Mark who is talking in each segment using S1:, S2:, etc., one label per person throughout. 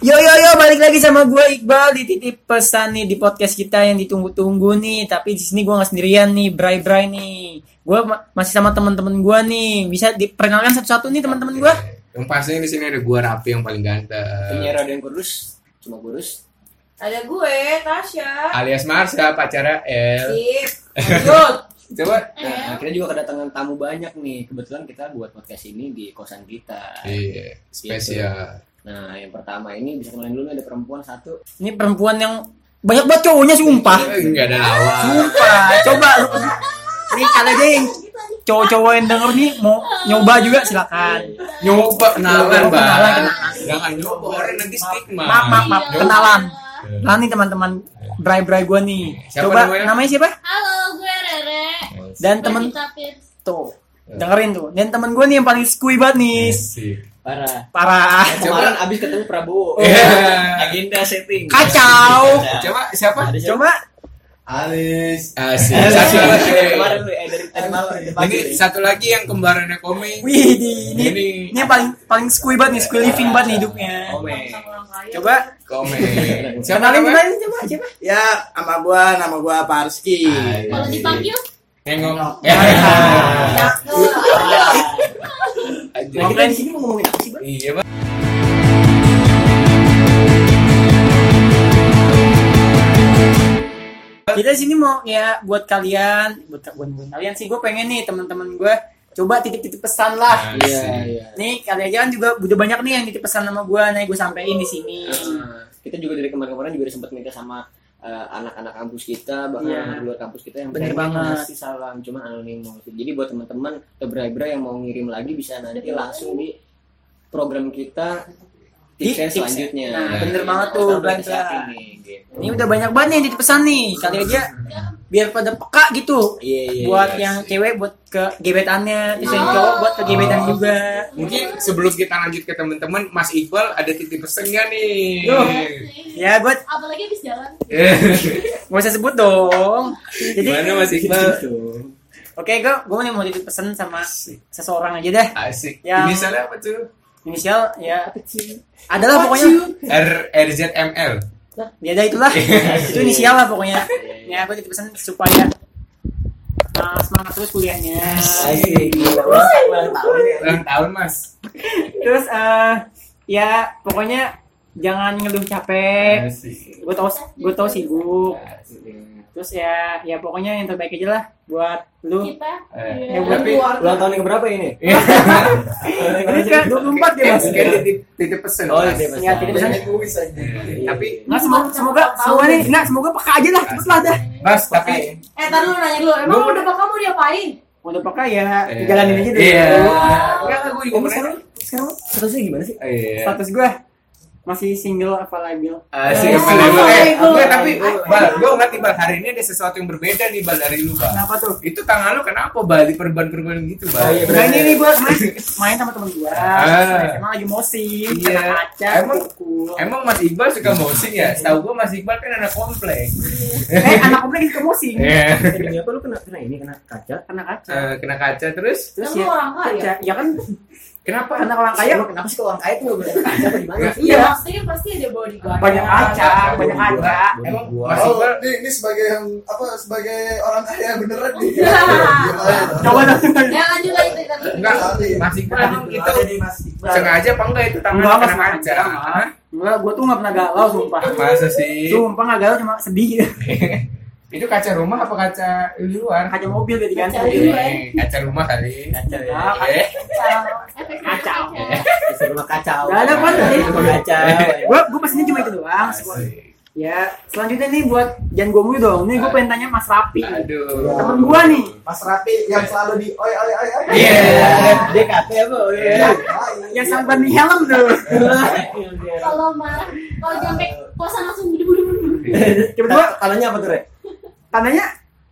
S1: Yo yo yo balik lagi sama gue Iqbal di titip pesan nih di podcast kita yang ditunggu-tunggu nih tapi di sini gue nggak sendirian nih Bray Bray nih gue ma- masih sama teman-teman gue nih bisa diperkenalkan satu-satu nih teman-teman gue
S2: Iya. Yang pastinya di sini ada gua Rapi yang paling ganteng.
S1: penyiar dan kurus cuma kurus
S3: Ada gue, Tasya.
S2: Alias Marsha pacara L.
S3: Sip. Lanjut.
S1: coba
S3: nah,
S1: kita juga kedatangan tamu banyak nih kebetulan kita buat podcast ini di kosan kita
S2: Iya, spesial.
S1: nah yang pertama ini bisa kenalin dulu ada perempuan satu ini perempuan yang banyak banget cowoknya sumpah
S2: Eh, Enggak ada lawan.
S1: Sumpah, coba lu. Nih kalau ada yang cowok-cowok yang denger nih mau nyoba juga silakan.
S2: Nyoba kenalan,
S1: Kenalan,
S2: Bang.
S1: kenalan.
S2: Jangan nyoba orang nanti stigma. Iya.
S1: Maaf, maaf, maaf.
S3: Iya.
S1: Kenalan. Kenalan Nah, nih teman-teman bray-bray gua nih.
S2: Siapa
S1: coba namanya?
S2: namanya?
S1: siapa?
S4: Halo, gue Rere.
S1: Dan temen
S4: Wanita Pierce.
S1: tuh dengerin tuh. Dan temen gua nih yang paling skui banget nih.
S2: Asik.
S5: Parah.
S1: Parah.
S6: Eh,
S5: Kemarin abis ketemu
S1: Oh.
S5: Prabowo.
S2: Iya.
S5: Agenda setting.
S1: Kacau.
S2: Eh, Coba siapa?
S5: Ada siapa?
S1: Coba
S2: Alis. Asik. Satu lagi.
S5: Kemarin lu eh dari tadi malam dari pagi.
S2: Ini satu lagi yang kembarannya Komeng.
S1: wih di- ini
S2: Ini.
S1: ini yang paling paling skui banget nih, skui living banget nih hidupnya.
S5: Komen.
S1: Coba
S2: Komeng. Siapa
S1: kenalin
S2: namanya? Ah,
S1: kenalin coba siapa?
S6: Ya, sama gua, nama gua Parski.
S2: Asik.
S4: Kalau dipanggil,
S2: Nengok.
S5: Nah, kita di sini mau ngomongin apa sih, Bang?
S2: Iya, Bang.
S1: kita sini mau ya buat kalian buat, buat, buat kalian sih gue pengen nih teman-teman gue coba titip-titip pesan lah
S5: Iya,
S2: Asik.
S5: iya.
S1: nih kalian jangan juga udah banyak nih yang titip pesan sama gue nih gue sampein di sini
S5: Nah, Kita juga dari kemarin-kemarin juga sempat minta sama eh, anak-anak kampus kita bahkan
S1: Iya.
S5: anak di luar kampus kita yang
S1: Bener
S5: pengen
S1: banget.
S5: ngasih salam cuman anonimus jadi buat teman-teman atau bra-bra yang mau ngirim lagi bisa nanti langsung di program kita
S1: Di
S5: tipsnya
S1: tips-
S5: selanjutnya
S1: nah,
S5: Iya.
S1: bener banget tuh,
S5: Atau udah
S1: Bang.
S5: disiapin nih, gitu.
S1: ini udah banyak banget nih yang titip pesan nih kalian aja biar pada peka gitu
S5: Iya, iya,
S1: buat
S2: iya
S1: yang
S2: sih.
S1: cewek buat ke gebetannya terus yang
S4: Oh.
S1: cowok buat ke gebetan
S2: Oh.
S1: juga
S2: Mungkin sebelum kita lanjut ke teman-teman, Mas Iqbal ada titip pesen nggak nih?
S1: Yo. ya gue
S4: apalagi habis jalan.
S1: gak usah sebut dong
S2: Gimana
S1: jadi
S2: Mas Iqbal?
S1: oke gue gue nih mau titip pesan sama seseorang aja deh
S2: Asik.
S1: Ya.
S2: Misalnya apa tuh?
S1: inisial ya adalah pokoknya
S2: R RZML.
S1: ya ada itulah itu inisial lah pokoknya ya aku titip pesan supaya uh, semangat terus kuliahnya
S5: Asik.
S2: Ulang tahun Mas.
S1: terus eh ya pokoknya jangan ngeluh capek
S2: Asik.
S1: gue tau gue tau sibuk
S2: Asik.
S1: terus ya ya pokoknya yang terbaik aja lah buat lu
S4: Kita.
S2: Eh,
S4: Iya.
S1: eh, tapi-
S5: Ulang tahun yang berapa ini?
S1: ini kan 24 ya mas
S2: Kan Iya, titip titip pesen.
S5: Oh,
S2: Mas.
S5: iya, Mas.
S1: ya titip pesan
S2: Eh, Tapi
S1: Nah, semoga, semoga, semoga nih, nah, semoga peka aja lah, cepet lah dah.
S2: Mas, tapi
S3: Eh, tar lu nanya dulu. Emang
S1: Gua-
S3: udah kamu diapain?
S1: Udah peka ya, jalanin aja dulu.
S2: Iya.
S1: Enggak,
S2: Enggak, gue juga
S1: Emang
S2: pernah.
S1: sekarang, sekarang
S5: Statusnya gimana sih?
S2: Iya.
S1: status gue masih single apa labil?
S2: Asik,
S3: Eh,
S2: apa label? Eh,
S3: apa label?
S2: enggak, tapi Bal, gue ngerti Bal, hari ini ada sesuatu yang berbeda nih Bal dari lu Bal.
S1: Kenapa tuh?
S2: Itu tangan lu kenapa Bal, di perban-perban gitu
S5: Oh,
S2: Bal?
S5: iya,
S1: Nah ini nih gue kemarin main sama temen gue
S2: Ah.
S1: Emang lagi mosin,
S2: Iya.
S1: kena kaca,
S2: Emang-
S1: pukul
S2: Emang Mas Iqbal suka mousing ya? Setahu gue Mas Iqbal kan anak komplek.
S1: Eh anak gue lagi ke mosin
S2: Iya.
S5: Demi apa lu kena kena ini kena kaca?
S1: Kena kaca
S2: Eh, Kena kaca terus?
S1: Terus
S3: Kamu
S1: ya
S3: orang kaya.
S1: kaca Ya kan
S2: Kenapa
S1: anak orang kaya
S5: Emang kenapa sih kalau orang kaya tuh nggak boleh kena kaca apa gimana? sih?
S1: Iya.
S3: Maksudnya pasti ada bodyguard.
S1: Banyak kaca,
S2: Anak-
S1: banyak
S2: anak-
S1: kaca
S2: anak-
S5: Ah, Emang
S2: Emang Mas
S6: Oh,
S2: Iqbal
S6: ini, ini sebagai yang apa sebagai orang kaya beneran nih.
S3: Ya.
S6: Iya, iya.
S1: Coba dong
S3: Ya, lanjut lagi cerita lu.
S2: enggak Mas Iqbal emang
S1: gitu.
S2: itu sengaja apa enggak itu tangan
S1: Enggak,
S2: kena
S1: Mas.
S2: kaca? Hah?
S1: Enggak, gue tuh gak pernah galau sumpah
S2: Masa sih?
S1: Sumpah gak galau cuma sedih gitu.
S2: Itu kaca rumah apa kaca luar?
S1: Kaca mobil jadi kan
S3: Kaca
S1: Iya.
S3: luar.
S2: Eh, Kaca rumah kali.
S5: Kaca ya.
S1: Ah,
S2: Eh.
S4: Efek
S1: Kacau.
S5: Bisa rumah kacau.
S1: Nggak ada, Pan.
S3: Iya.
S5: Rumah kacau.
S1: Gue gue pastinya cuma itu doang
S2: Iya.
S1: Ya selanjutnya nih buat Jangan gue mulu dong Nih gue pengen tanya Mas Rapi
S2: Aduh.
S1: Temen gue nih
S6: Mas Rapi yang selalu di oi oi oi Iya. oi.
S2: Iya.
S5: Dia kafe apa? ya?
S1: Yang sampai di helm tuh
S4: Kalau marah, kalau jambek, kosan langsung budu budu budu.
S1: Coba gue
S5: Tanahnya apa tuh, Re?
S1: tandanya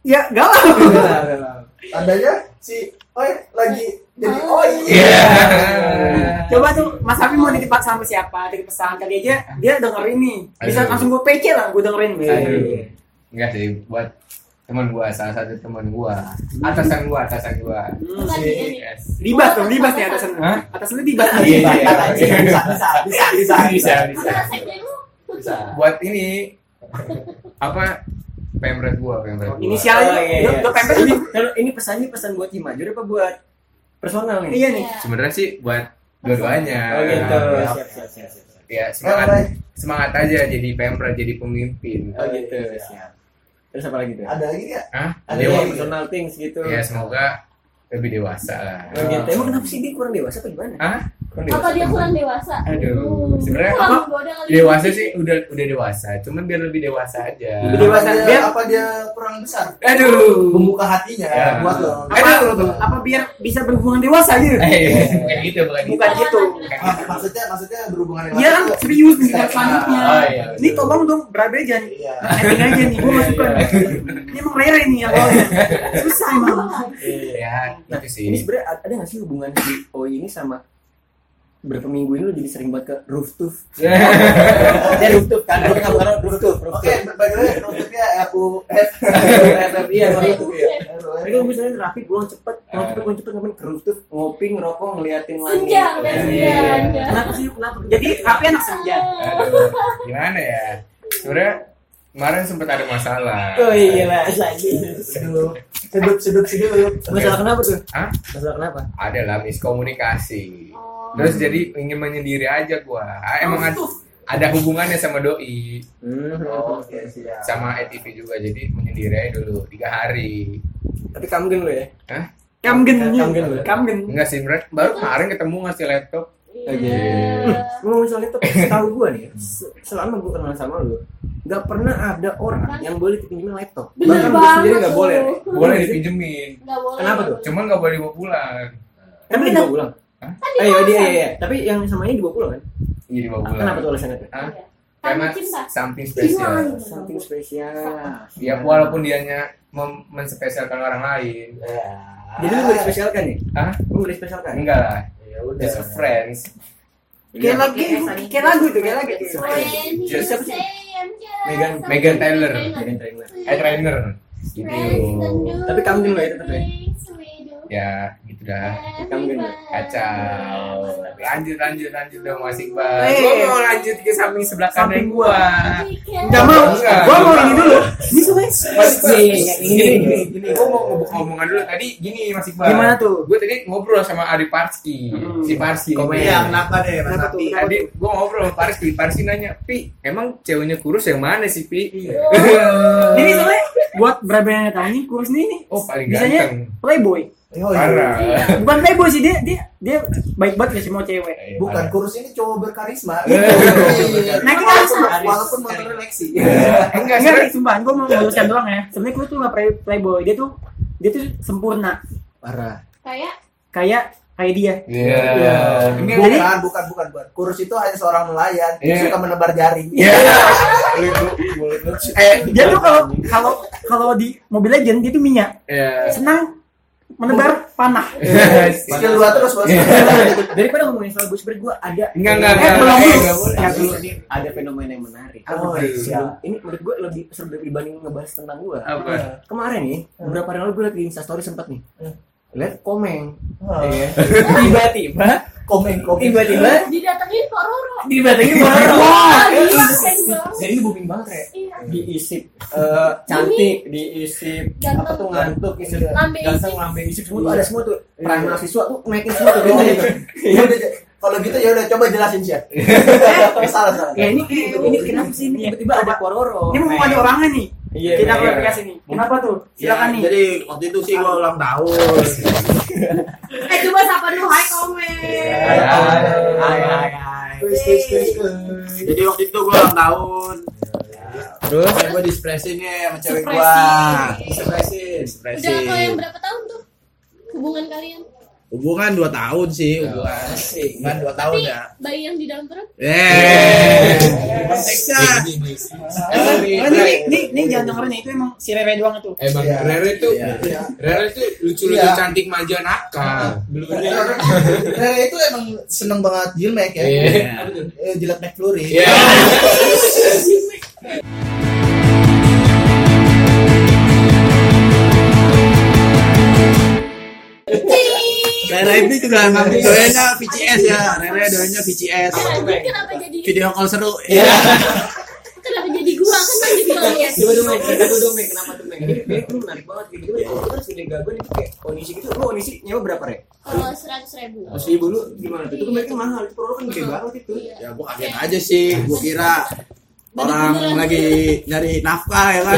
S1: ya galau
S5: iya,
S6: Tandanya si oi lagi jadi
S4: Oh.
S6: oi.
S2: Iya.
S1: coba tuh Mas Hafi mau nitip sama siapa titip pesan kali aja dia dengerin nih bisa
S2: Aduh.
S1: langsung gue PC lah gue dengerin
S2: Aduh. Enggak sih buat teman gua salah satu teman gua atasan gua atasan gua
S4: Bukan dia nih.
S2: yes.
S1: Libas dong, libas nih atasan.
S2: Hah?
S1: Atasan lu libas.
S2: Iya,
S1: Iya.
S2: iya.
S6: bisa bisa bisa bisa
S2: bisa bisa
S4: Bukan sekte lu.
S2: Iya.
S6: bisa
S2: buat ini apa pemret gua pemret gua.
S1: Inisialnya.
S5: Oh, iya, iya.
S1: Dok, dok pempek
S5: Ini,
S1: dok.
S5: kalau ini pesannya pesan buat tim Majur apa buat personal nih?
S1: Iya nih.
S4: Iya.
S2: sebenarnya sih buat dua-duanya
S5: Oh gitu.
S6: Iya.
S5: Siap, siap, siap, siap.
S2: ya
S6: Bye,
S2: semangat
S6: bye.
S2: semangat aja jadi pemret jadi pemimpin
S5: Oh gitu.
S6: Iya.
S5: Siap. Terus apa lagi tuh?
S6: ada lagi nggak
S2: Hah?
S5: Ada
S2: Dewa.
S5: yang personal things gitu.
S2: ya semoga lebih dewasa lah
S5: Oh, gitu. Emang kenapa sih dia kurang dewasa atau gimana?
S2: Hah?
S5: Ah, Kurang
S4: Atau
S5: dewasa.
S4: dia kurang dewasa. Hmm.
S2: aduh sebenarnya
S4: Kurang
S2: apa Iya.
S4: menggoda kali.
S2: dewasa sih udah udah dewasa cuman biar lebih dewasa aja
S1: Lebih dewasa.
S6: Apa dia-
S1: Biar-
S6: apa dia kurang besar
S2: aduh
S6: membuka hatinya
S2: Ya.
S6: buat lo
S1: Apa, apa biar bisa berhubungan dewasa gitu?
S2: eh bukan gitu bukan gitu
S1: Bukan gitu.
S6: Ah, maksudnya maksudnya berhubungan dengan
S1: Iya kan
S6: waktu.
S1: serius nih step selanjutnya.
S2: Oh, iya, betul.
S1: Ini tolong dong berabe jangan
S6: iya
S1: acting aja nih, gue masuk kan. Ini emang rere nih ya awalnya. Susah emang.
S2: ya
S5: Nah,
S2: itu sih
S5: ini sebenarnya a- ada nggak sih hubungan si Oi ini sama berapa minggu ini lo jadi sering banget ke rooftop? Dia rooftop kan? Rooftop kan? Rooftop, Rooftop,
S6: oke
S5: rooftop.
S6: by the way nutupnya ya, aku
S5: Iya,
S4: Iya,
S5: rooftop.
S4: iya.
S5: Tapi kalau misalnya rapi pulang cepet,
S2: Eh.
S5: pulang cepet, pulang cepet ngapain ke rooftop? Ngopi, ngerokok, ngeliatin langit.
S4: Senja, udah senja.
S2: Iya.
S4: udah.
S1: Kenapa sih? Kenapa? Jadi tapi anak senja.
S2: aduh gimana ya sebenarnya kemarin sempat ada masalah
S5: Oh iya lah, lagi.
S6: sedup sedup sedup sedup
S5: Masalah kenapa tuh?
S2: Hah?
S5: Masalah kenapa?
S2: ada lah miskomunikasi
S4: Oh.
S2: terus jadi ingin menyendiri aja gua Ah, emang ada, ada hubungannya sama doi
S5: Hmm.
S6: oke siap
S2: sama ETV juga jadi menyendiri aja dulu tiga hari
S5: Tapi kamgen lo ya?
S1: Kamgen nih.
S5: Kamgen lu.
S1: Kamgen.
S2: enggak sih berat baru kemarin ketemu ngasih laptop
S4: Iya.
S5: Ngomong soalnya tuh tahu gue nih, se- selama gue kenal sama lo, nggak pernah ada orang yang boleh pinjemin laptop.
S4: Bener
S5: Bahkan gua
S4: banget
S5: sendiri nggak
S4: lu.
S5: boleh.
S2: boleh dipinjemin
S4: Nggak boleh.
S5: Kenapa
S4: nggak
S5: tuh?
S4: boleh.
S2: cuman nggak boleh dibawa pulang
S5: Tapi
S1: Tapi
S5: dibawa pulang.
S2: Hah?
S4: Kan
S5: Ayo dia, iya, iya. Tapi yang sama ini dibawa pulang kan?
S2: iya dibawa pulang
S5: Kenapa tuh alasannya tuh?
S2: Hah?
S4: Iya.
S2: karena ya.
S4: Karena cinta. Iya.
S2: something spesial
S5: Something spesial. Iya.
S2: ya walaupun dianya mem- menspesialkan orang lain
S5: Jadi lu boleh spesial kan ya?
S2: Hah?
S5: Lu boleh spesial kan?
S2: Nah, enggak Iya. lah
S6: ya udah
S2: just a friends
S1: Kayak lagi, kayak lagu tuh, kayak lagu tuh.
S2: Iya.
S4: When you
S2: Siapa
S5: sih?
S4: say I'm just
S5: Megan-
S4: something
S2: Megan Taylor.
S5: Megan Trainor.
S2: eh trainer
S4: Friends
S2: gitu
S4: and do
S5: Tapi kamu dulu ya, tetep ya?
S4: things we do.
S2: ya gitu dah
S5: Kamu dulu.
S4: Everybody.
S2: kacau lanjut lanjut lanjut dong Mas Iqbal
S1: Eh.
S2: Gua mau lanjut ke samping sebelah kanan
S1: Samping
S2: gua
S4: We can-
S1: Enggak mau.
S2: Iya. Enggak.
S1: Gua mau ini dulu. Ini tuh guys.
S2: Mas Iqbal
S1: Iya, iya,
S2: gini
S1: iya.
S2: gini gini gua mau ngobok ngomongan dulu tadi gini Mas Iqbal
S1: Gimana tuh?
S2: gue tadi ngobrol sama Ari Parski
S1: Hmm.
S2: si Parski
S5: Komen.
S2: ini.
S6: iya kenapa deh mas
S1: Kenapa
S6: Api
S1: tuh?
S2: tadi gue ngobrol sama Paris Pi Paris sih nanya Pi emang ceweknya kurus yang mana sih Pi
S1: Ini soalnya buat berapa yang tahu nih kurus nih nih.
S2: oh paling
S1: Bisanya
S2: ganteng
S1: playboy.
S6: Oh, iya.
S2: parah
S1: Bukan playboy sih dia dia dia baik banget ya semua cewek.
S6: bukan kurus ini cowok berkarisma
S2: Iya.
S1: Nah, kita harus
S6: walaupun walaupun motor Lexi
S2: Iya. enggak
S1: Enggak
S2: sebenarnya
S1: nih, sumpah, gue mau meluruskan doang ya. Sebenarnya kurus tuh nggak play- playboy, dia tuh dia tuh sempurna.
S5: Parah.
S4: Kayak
S1: Kayak kayak dia.
S2: Iya.
S6: Iya.
S2: Enggak, jadi-
S6: bukan bukan bukan bukan kurus itu hanya seorang nelayan
S2: Iya.
S6: suka menebar jaring
S2: Iya. Eh,
S1: Dia tuh kalau kalau kalau di Mobile Legend dia tuh minyak.
S2: iya.
S1: Senang menebar panah.
S6: skill dua terus bos
S2: Iya.
S5: Daripada ngomongin soal gue sebenernya gue ada
S2: Enggak, enggak,
S1: Eh,
S2: enggak.
S1: belum
S2: Eh,
S1: dulu.
S2: enggak boleh. iya.
S1: Enggak dulu.
S5: ada fenomena yang menarik.
S6: Oh,
S5: Aduh,
S6: siap.
S5: ini menurut gue lebih seru dibanding ngebahas tentang gue.
S2: Apa?
S6: Iya.
S5: Kemarin nih,
S1: Hmm.
S5: beberapa hari lalu gue liat di Instastory sempet nih.
S6: Hmm.
S5: Lihat komeng.
S6: Oh.
S5: Iya. Tiba-tiba,
S6: komen komen
S5: tiba-tiba
S4: didatengin kok Roro.
S5: dibatengin
S4: Ah,
S5: marah.
S4: gila, keren banget.
S5: Jadi booming banget ya.
S4: Iya.
S5: Diisip eh, cantik, diisip
S4: Ganteng.
S5: apa tuh ngantuk, isip
S4: Lambe
S5: ganteng,
S4: isip.
S5: lambe isip semua tuh ada semua tuh. Peran
S6: Iya.
S5: mahasiswa tuh naikin semua tuh.
S6: Iya.
S5: gitu.
S6: Ya udah, kalau gitu ya udah coba jelasin sih salah salah
S1: Ya ini ini kenapa sih ini?
S5: Tiba-tiba ada kororo.
S1: Ini mau ada orangnya nih.
S5: Iya.
S1: Kita
S5: iya.
S1: klarifikasi nih. Kenapa tuh?
S7: Ya,
S1: Silakan nih.
S6: jadi waktu itu sih gua ulang tahun
S4: Eh coba sapa dulu hai komen.
S2: Hai, hai, hai, hai.
S6: Kuis, kuis, kuis, kuis.
S7: Jadi waktu itu gue ulang tahun.
S5: Terus?
S7: Kayak gue dispresin ya sama cewek gue.
S4: Surpresin.
S7: Dispresin.
S4: Udah apa yang berapa tahun tuh hubungan kalian?
S7: Hubungan 2 tahun sih, hubungan. Hubungan 2 tahun ya.
S4: Bayi yang di dalam perut?
S7: Eh. Iya,
S1: Emang- emang Ini ini ini jangan dengerin ya, itu emang si Rere doang itu.
S2: Emang
S6: Iya.
S2: Rere tuh
S6: Iya.
S2: Rere tuh lucu-lucu
S6: Iya.
S2: cantik manja nakal.
S6: Rere Iya. Eh, itu emang seneng banget jilmek ya
S2: Iya.
S6: Eh, jilat McFlurry
S2: Iya.
S7: ini juga emang doanya VCS ya. Rere doanya VCS.
S4: Anjing, kenapa jadi
S7: Video call seru. Iya.
S4: kenapa jadi gua kan tadi bilang ya.
S5: Coba tuh main, coba tuh main, Iya, kenapa tuh main? Ini kayak lu menarik banget gitu. Gimana? Terus udah gaguan itu kayak kondisi gitu. Lu kondisi nyewa berapa re?
S4: Kalau seratus ribu.
S5: Terus ibu lu gimana tuh? Itu kan mereka mahal, itu produk kan gede banget itu.
S4: Iya.
S7: Ya gua kaget aja sih. Gua kira orang lagi nyari nafkah ya kan.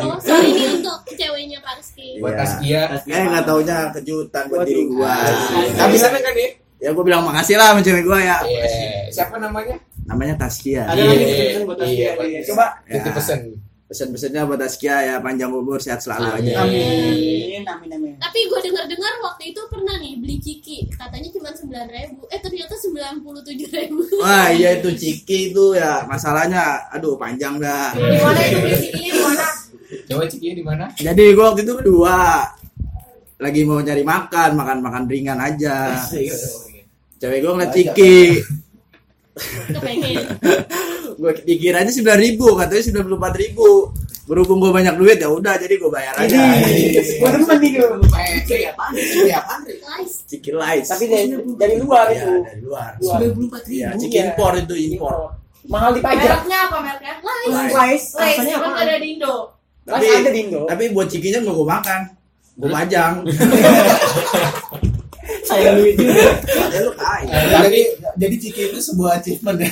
S4: Oh, sorry ini untuk ceweknya Pak Rizky.
S2: Buat Taskia.
S7: Eh nggak taunya kejutan buat diri gua. Iya.
S2: Tapi sana kan ya?
S7: Ya gua bilang makasih lah sama cewek gua ya.
S2: Iya. Siapa namanya?
S7: Namanya Taskia.
S5: Ada
S2: Iya,
S5: lagi pesan buat Tasya.
S2: iya,
S5: Iya,
S2: buat-
S5: Coba
S7: Ya.
S2: Titip pesan.
S7: Pesan-pesannya buat Taskia ya panjang umur sehat selalu Iya. aja.
S1: Amin, amin, amin.
S4: Tapi gue dengar-dengar waktu itu pernah nih beli ciki, katanya cuma sembilan ribu. Eh ternyata sembilan puluh tujuh ribu.
S7: Wah iya itu Ciki itu ya masalahnya aduh panjang dah.
S8: Di
S5: Iya.
S8: mana itu beli CD-nya di mana?
S2: Coba cikinya di mana?
S7: Jadi gua waktu itu berdua lagi mau nyari makan makan makan ringan aja. Cewek gua ngeliat Ciki,
S4: Kepengen.
S7: gua pikirannya sembilan ribu katanya sembilan puluh empat ribu. Berhubung gua banyak duit ya udah jadi gua bayar aja.
S5: Iya.
S1: Gue temen nih dulu.
S2: Ciki apaan? Ciki apaan?
S4: Guys,
S7: Ciki lights.
S5: tapi dari dari luar Iya.
S7: ya,
S5: itu.
S7: dari luar.
S5: empat
S7: Ya, Ciki impor itu impor.
S5: Mahal dipajak.
S8: Mereknya apa mereknya?
S4: guys.
S1: Guys,
S8: Lays,
S1: rasanya
S8: kan
S1: apa?
S8: ada di Indo.
S5: Tapi
S7: Tapi
S5: ada di Indo.
S7: tapi buat Cikinya nggak gua makan. Gua pajang.
S5: Saya duit juga.
S7: Ya lu kaya.
S6: Jadi jadi Ciki itu sebuah achievement ya.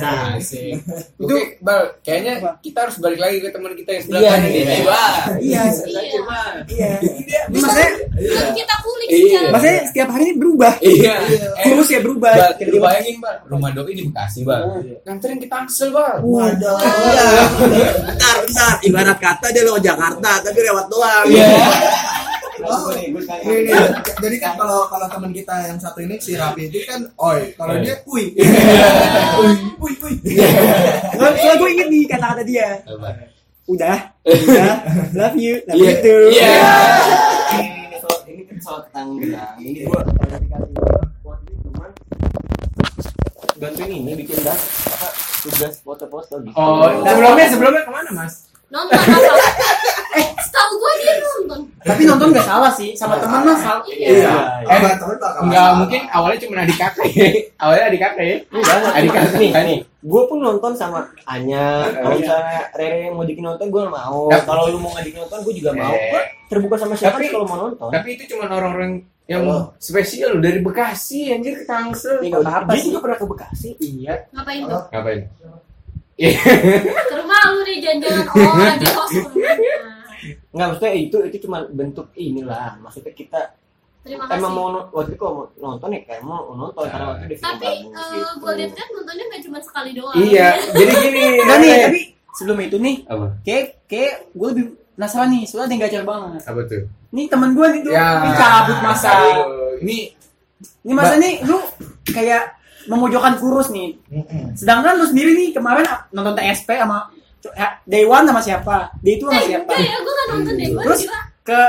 S2: Nah, sih. Oke, Bal, kayaknya kita harus balik lagi ke teman kita yang sebelah
S5: Iya,
S2: kanan
S5: iya.
S2: ini. Bal.
S1: Iya.
S4: Iya.
S1: Iya. Ini maksudnya,
S4: Belum kita kulik
S2: Iya.
S4: secara
S1: maksudnya setiap hari ini berubah.
S2: Iya. Eh,
S1: Kurus ya berubah.
S7: Iya.
S2: Bal, lu bayangin, Bal. Rumah doi di Bekasi,
S5: Oh.
S2: Bal. Nganterin ke Tangsel, Bal.
S6: Waduh.
S7: Bentar, bentar. Ibarat kata dia lewat Jakarta, tapi lewat doang.
S5: Iya,
S6: Jadi kan kalau kalau teman kita yang satu ini si Rapi itu kan oi,
S2: Iya.
S6: kalau dia kui. Kui kui.
S2: Iya.
S1: Soalnya soalnya gue inget nih kata-kata dia. Udah, udah, love you,
S7: Nah,
S1: love
S2: Iya.
S1: you too.
S2: Iya.
S5: Ini soal ini kan soal tanggung Ini gua klarifikasi buat ini cuman bantuin ini bikin dah apa tugas foto-foto gitu.
S2: Oh, sebelumnya sebelumnya kemana, Mas?
S4: nonton apa? Eh, setahu gue dia nonton.
S1: Tapi nonton gak salah sih, sama temen lah salah.
S4: Iya.
S6: Eh, teman bakal.
S2: Enggak, mungkin awalnya cuma adik kakak ya. Awalnya adik kakak ya.
S5: Enggak, enggak.
S2: Adik kakak
S5: Nih,
S2: kan nih.
S5: gue pun nonton sama Anya kalau misalnya Rere yang mau dikin nonton gue mau
S2: Tapi-
S5: kalau lu mau ngadik nonton gue juga mau
S2: Eh,
S5: Gua terbuka sama siapa
S2: Tapi- Ya,
S5: sih kalau mau nonton
S2: Tapi itu cuma orang-orang yang
S5: Oh.
S2: spesial dari Bekasi anjir ke Tangsel.
S5: Ini nggak apa-apa
S2: Dia
S5: sih.
S2: juga pernah ke Bekasi. Iya.
S4: Ngapain tuh?
S2: Ngapain?
S4: Ke rumah lu nih jangan-jangan oh lagi kos lu. Nah,
S5: nggak maksudnya itu itu cuma bentuk inilah maksudnya kita
S4: Terima
S5: emang
S4: kasih.
S5: mau no- waktu itu kalau mau nonton ya kayak mau nonton karena waktu itu
S4: Tapi
S5: gitu.
S4: eh, gue lihat kan nontonnya gak cuma sekali
S1: Oh,
S4: doang.
S2: Iya, jadi gini.
S1: Enggak nih,
S2: Rere.
S1: tapi sebelum itu nih,
S2: apa?
S1: kayak, kayak gue lebih penasaran nih, soalnya ada yang gacor banget.
S2: Apa tuh? Ya.
S1: Nih temen gue nih tuh,
S2: Iya.
S1: ini cabut masa.
S2: Aduh, Ini
S1: Ini masa nih, lu kayak memojokkan kurus nih. Sedangkan lu sendiri nih, kemarin nonton TSP sama eh, Day One sama siapa? Day Two
S4: Eh,
S1: sama siapa?
S4: enggak ya, gue gak nonton deh. Gue
S1: Terus?
S4: kira
S1: ke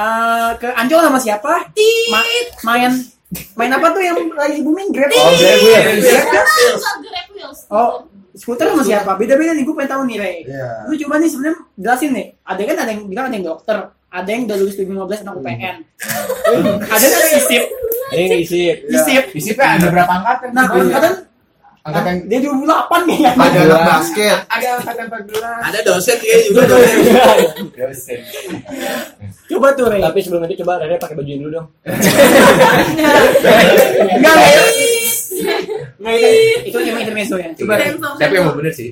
S1: eh, ke Ancol sama siapa? Ma- main main apa tuh yang lagi booming Grab?
S2: Oh, Grab
S1: ya.
S2: Wheels.
S4: Karena suka Grab Wheels.
S1: Oh, skuter sama siapa? Beda-beda nih, gue pengen tahu nih, Rey.
S6: Iya.
S1: Lu coba nih sebenarnya jelasin nih. Ada kan ada yang bilang ada yang dokter, ada yang udah lulus 2015 anak UPN. ada kan yang ada isip,
S7: Iya.
S5: ini ngisi
S1: isip.
S2: Isipnya ada berapa angkatan?
S1: Nah, angkatan
S2: Iya. angkatan
S1: dia 2008 nih. kan?
S6: Ada
S2: Iya.
S6: anak basket.
S2: ada angkatan 14.
S7: Ada dosen kayaknya juga dosen.
S5: Iya.
S2: Dosen.
S1: Coba tuh, Rey.
S5: tapi sebelum itu coba Rere pakai baju dulu dong
S1: Enggak, Rey. Nggak, itu, itu cuma intermezzo ya. Coba, Rey.
S2: Tapi emang bener sih.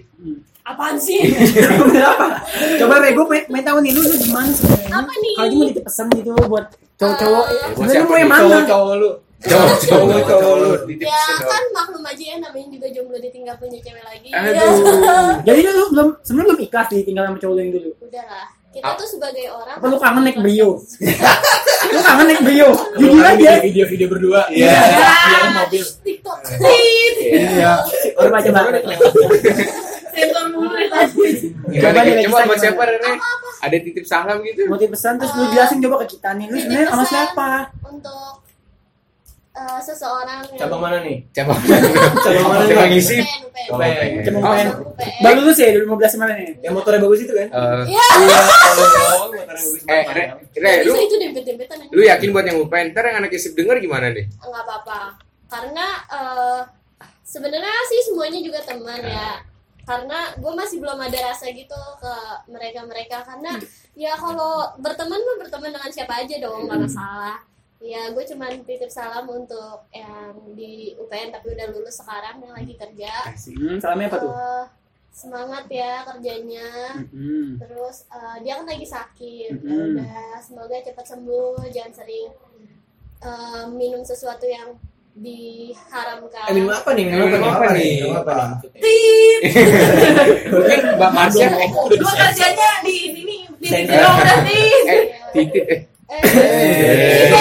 S4: Apaan sih?
S1: Kenapa? Coba, Rey, gue pengen pengen tahu nih, lu, lu gimana sebenarnya?
S4: Apa nih?
S1: Kalau cuma dipesan gitu buat cowok-cowok,
S4: Eh,
S1: sebenarnya lu mau yang mana?
S2: Cowok lu. Cowok cowok cowok lu.
S4: Ya kan maklum aja ya namanya juga jomblo ditinggal punya cewek lagi.
S2: Aduh.
S4: Ya.
S1: Jadi lu belum sebenarnya belum ikhlas nih tinggal sama cowok lu yang dulu.
S4: Udahlah.
S2: Ah.
S4: Kita tuh sebagai orang.
S1: Apa lu kangen naik Brio? lu kangen naik Brio? Jujur aja.
S5: video-video berdua
S2: Iya.
S4: Ah, TikTok.
S6: Iya.
S1: Coba coba.
S4: Sensor dulu deh, tadi.
S2: Gimana
S1: Coba
S2: nih?
S1: nih,
S2: Coba buat
S1: gimana?
S2: siapa Rere?
S4: Apa-apa
S2: Ada titip salam gitu?
S1: Mau pesan terus lu jelasin coba ke kita nih. Lu sebenarnya sama siapa?
S4: untuk eh, seseorang yang
S5: cabang mana nih
S2: Coba.
S5: cabang mana
S2: Coba
S5: nih
S2: ngisi.
S4: UPN, UPN.
S2: Oh, UPN.
S1: Cuma
S9: Oh.
S1: main.
S4: UPN.
S1: Baru lulus ya 2015 kemarin ya?
S5: Yang motornya bagus itu kan?
S2: Eh,
S4: Ya,
S5: Iya, tolong, motornya bagus
S2: eh,
S5: banget.
S2: Re, Re, lu,
S4: bisa itu dempet-dempetan ya. aja.
S2: lu ya. yakin buat yang UPN? Ntar yang anak isip denger gimana nih?
S4: nggak apa-apa karena eh, sebenarnya sih semuanya juga teman
S1: Iya.
S4: ya karena gue masih belum ada rasa gitu ke mereka mereka karena
S1: Iya.
S4: ya kalau berteman mah berteman dengan siapa aja dong nggak masalah ya gue cuman titip salam untuk yang di UPN tapi udah lulus sekarang yang lagi kerja
S1: Hmm, salamnya apa tuh?
S4: Eh, semangat ya kerjanya
S1: Hmm.
S4: terus eh, dia kan lagi sakit
S1: Mhm.
S4: ya udah semoga cepat sembuh jangan sering eh, minum sesuatu yang diharamkan
S5: Eh, minum apa nih? Minum apa
S2: Minum
S5: nih?
S2: apa nih?
S5: Minum apa nih?
S4: Tip.
S2: Mungkin Mbak Marsha
S3: Gua kerjanya di ini nih, di
S5: Sen-
S4: Iya,
S3: video berarti.
S2: eh titip eh
S4: Eh,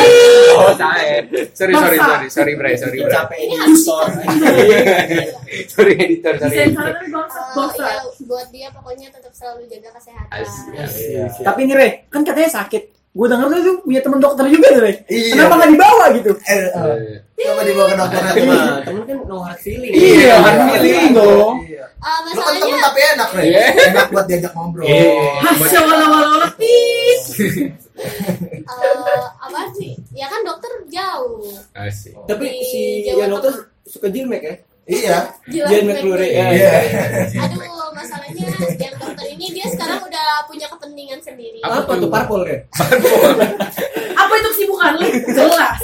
S2: oh sae. Sorry sorry sorry sorry Bray, sorry Bray.
S5: Capek
S4: ini harus eh,
S5: editor.
S2: Sorry editor, sorry editor.
S3: Sensor bangsa
S4: Eh,
S3: bangsa.
S4: ya, buat dia pokoknya tetap selalu jaga kesehatan Eh,
S5: Iya,
S2: Asyik.
S1: Tapi nih Re, kan katanya sakit. Gue denger lu tuh punya temen dokter juga tuh Re.
S6: Iya.
S1: Kenapa nggak dibawa gitu?
S6: Eh, eh,
S2: Eh,
S6: coba dibawa ke dokter aja.
S5: Teman, teman kan no hard feeling.
S1: Iya,
S2: kan
S6: Iya.
S1: feeling dong.
S6: Iya.
S4: Eh,
S6: Lu kan temen
S4: masalahnya
S6: tapi enak, Re.
S2: Iya.
S6: Enak buat diajak ngobrol. Iya.
S2: eh, buat-
S3: Hasil walau-walau lepis.
S4: eh, apa sih ya kan dokter jauh
S2: Asik.
S5: Tapi
S4: Di
S5: si
S4: Jawa
S5: yang
S4: Tengah.
S5: dokter suka jilmek ya?
S6: Iya.
S4: Jilat
S5: Jilmek
S4: Black
S5: McClure.
S4: Beauty.
S5: ya.
S6: Iya.
S4: aduh masalahnya yang dokter ini dia sekarang udah punya kepentingan sendiri
S5: Apa tuh parpol ya?
S3: Apa itu kesibukan lu? Jelas.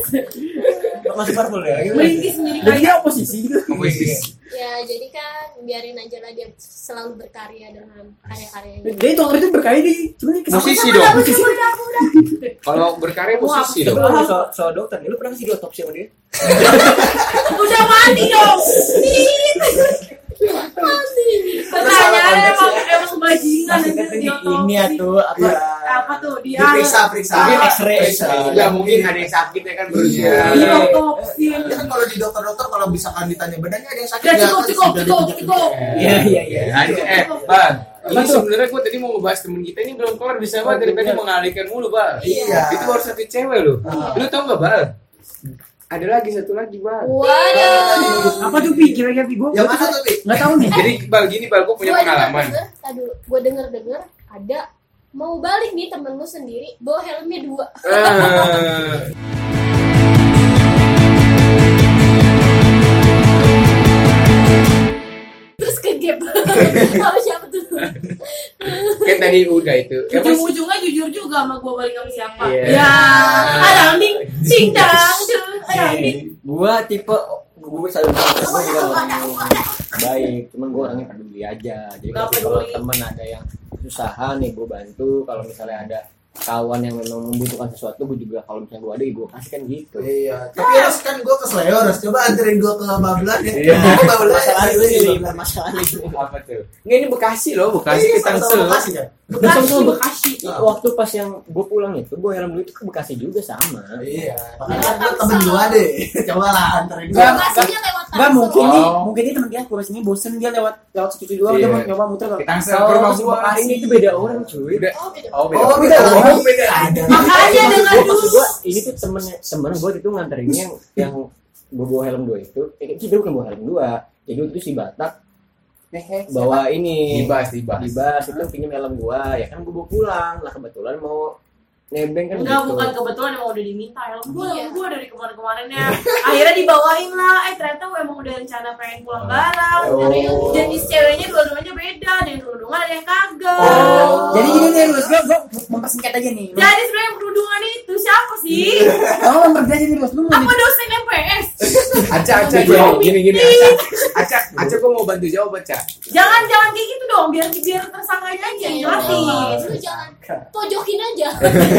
S5: Masih parpol ya?
S3: Melingkis sendiri
S1: Dan dia oposisi gitu.
S2: Komisi.
S4: ya jadi kan biarin aja lah dia selalu berkarya dengan karya-karyanya
S1: Jadi dokter itu berkali di cuman dia kesel.
S2: Musisi
S3: Udah,
S2: dong.
S3: udah, udah, udah.
S2: Kalau berkarya
S3: Wah,
S2: musisi
S5: Tapi
S2: dong.
S5: ngomongin soal, soal dokter nih, lu pernah sih di otopsi sama dia?
S3: Udah mati dong. Tit. Pertanyaannya emang emang bajingan
S1: Masih
S3: anjir,
S1: kan ini
S3: dia otopsi.
S1: ini ya tuh apa?
S6: Iya.
S3: Apa tuh dia?
S6: Diperiksa, periksa.
S1: Mungkin X-ray.
S6: Periksa. Iya,
S2: Ya mungkin ada yang sakit ya kan berusia.
S3: Dia
S1: Iya.
S3: otopsi.
S6: Ya kan kalau di dokter-dokter kalau misalkan ditanya badannya ada yang sakit
S3: Udah Ya, cukup
S6: terus
S3: cukup
S6: udah
S3: cukup
S6: ditunjuk-
S3: cukup.
S1: Iya, iya, iya.
S2: Ya, ada- Eh, Bang. Ini sebenarnya gue tadi mau ngebahas temen kita ini belum kelar bisa banget dari tadi mengalihkan mulu, Bang.
S6: Iya.
S2: Itu baru satu cewek lu. Lu tau gak, Bang? Ah. Ada lagi satu lagi, Bang.
S6: Iya.
S4: waduh
S1: Apa tuh Pi? Kira-kira Pi gue
S6: Yang mana tuh, Pi?
S1: nggak tahu nih.
S2: Jadi, Bang, gini, Bang, gue punya pengalaman.
S4: gue denger denger ada mau balik nih temen lu sendiri bawa helmnya dua
S2: Eh,
S4: terus ke gap sama siapa tuh
S2: kan tadi udah itu. Ya, Bang,
S3: Ujung-ujungnya jujur juga sama gue balik sama siapa.
S2: Iya. Ah,
S3: Ya, ada ding ding
S1: Iya.
S3: dang dang, ada ding.
S5: Gua tipe gue selalu bilang, gua juga orang yang baik, cuman gue orangnya peduli aja. Jadi
S3: Gak
S5: kalau
S3: peduli.
S5: temen ada yang susah nih gue bantu. Kalau misalnya ada kawan yang memang membutuhkan sesuatu, gue juga kalau misalnya gue ada, gue kasih kan gitu.
S6: Iya, tapi
S3: Ah.
S6: harus kan gue ke Sleo, harus coba anterin gue ke Bablan ya.
S2: Iya.
S6: Gue Bablan ya.
S5: masalah ini.
S2: apa tuh? Nggak, ini Bekasi loh, Bekasi
S6: Iya,
S2: ke
S6: sama-sama
S2: Tangsel.
S6: Bekasi kan?
S3: Bekasi, Bekasi.
S5: Waktu pas yang gue pulang itu, gue helm dulu itu ke Bekasi juga sama.
S6: Iya, makanya gue temen gue deh. Coba lah anterin gue.
S1: Nggak,
S4: lokasinya lewat
S1: Nggak
S4: Tangsel.
S1: mungkin
S2: Oh.
S1: nih, mungkin nih teman dia kurus ini bosen dia lewat lewat situ doang dia
S2: Iya.
S1: mau nyoba muter
S2: Ke
S1: nggak?
S2: Tangsel ke rumah
S1: Bekasi,
S2: gua.
S1: Bekasi.
S5: Ini itu beda orang cuy.
S2: Udah.
S4: oh beda
S2: Oh, beda.
S6: Oh, beda. Oh, beda. Ada.
S3: Makanya
S5: Maksud
S3: dengan
S5: gua-
S3: dulu.
S5: maksud gua, ini tuh temennya temen gue itu nganterinnya yang yang gue bawa helm dua itu eh, kita bukan bawa helm dua jadi waktu itu si batak bawa ini
S2: Dibahas, dibahas.
S5: dibas itu pinjam helm gua ya kan gue bawa pulang lah kebetulan mau nebeng
S1: iya,
S5: kan
S3: Enggak,
S5: gitu
S3: bukan kebetulan emang udah diminta helm gue,
S4: Iya.
S3: gue dari kemarin-kemarinnya. Akhirnya dibawain lah. Eh ternyata gue emang udah rencana pengen pulang bareng.
S6: Oh.
S3: Jadi ceweknya dua-duanya beda, ada yang kerudungan, ada yang kagak.
S1: Oh. Jadi gini nih, Lus, gue gue mempersingkat aja nih. Lus.
S3: Jadi sebenarnya yang kerudungan itu siapa sih?
S1: Kamu memperjelas aja nih, Lus. Lu mau
S3: Apa dosen MPS?
S2: Acak, acak,
S3: Iya.
S2: gua. gini, gini, acak. Acak, acak, gue mau bantu jawab, acak.
S3: Jangan jangan kayak gitu dong, biar biar tersangkanya aja yang jelasin.
S4: Iya, Lu jangan pojokin aja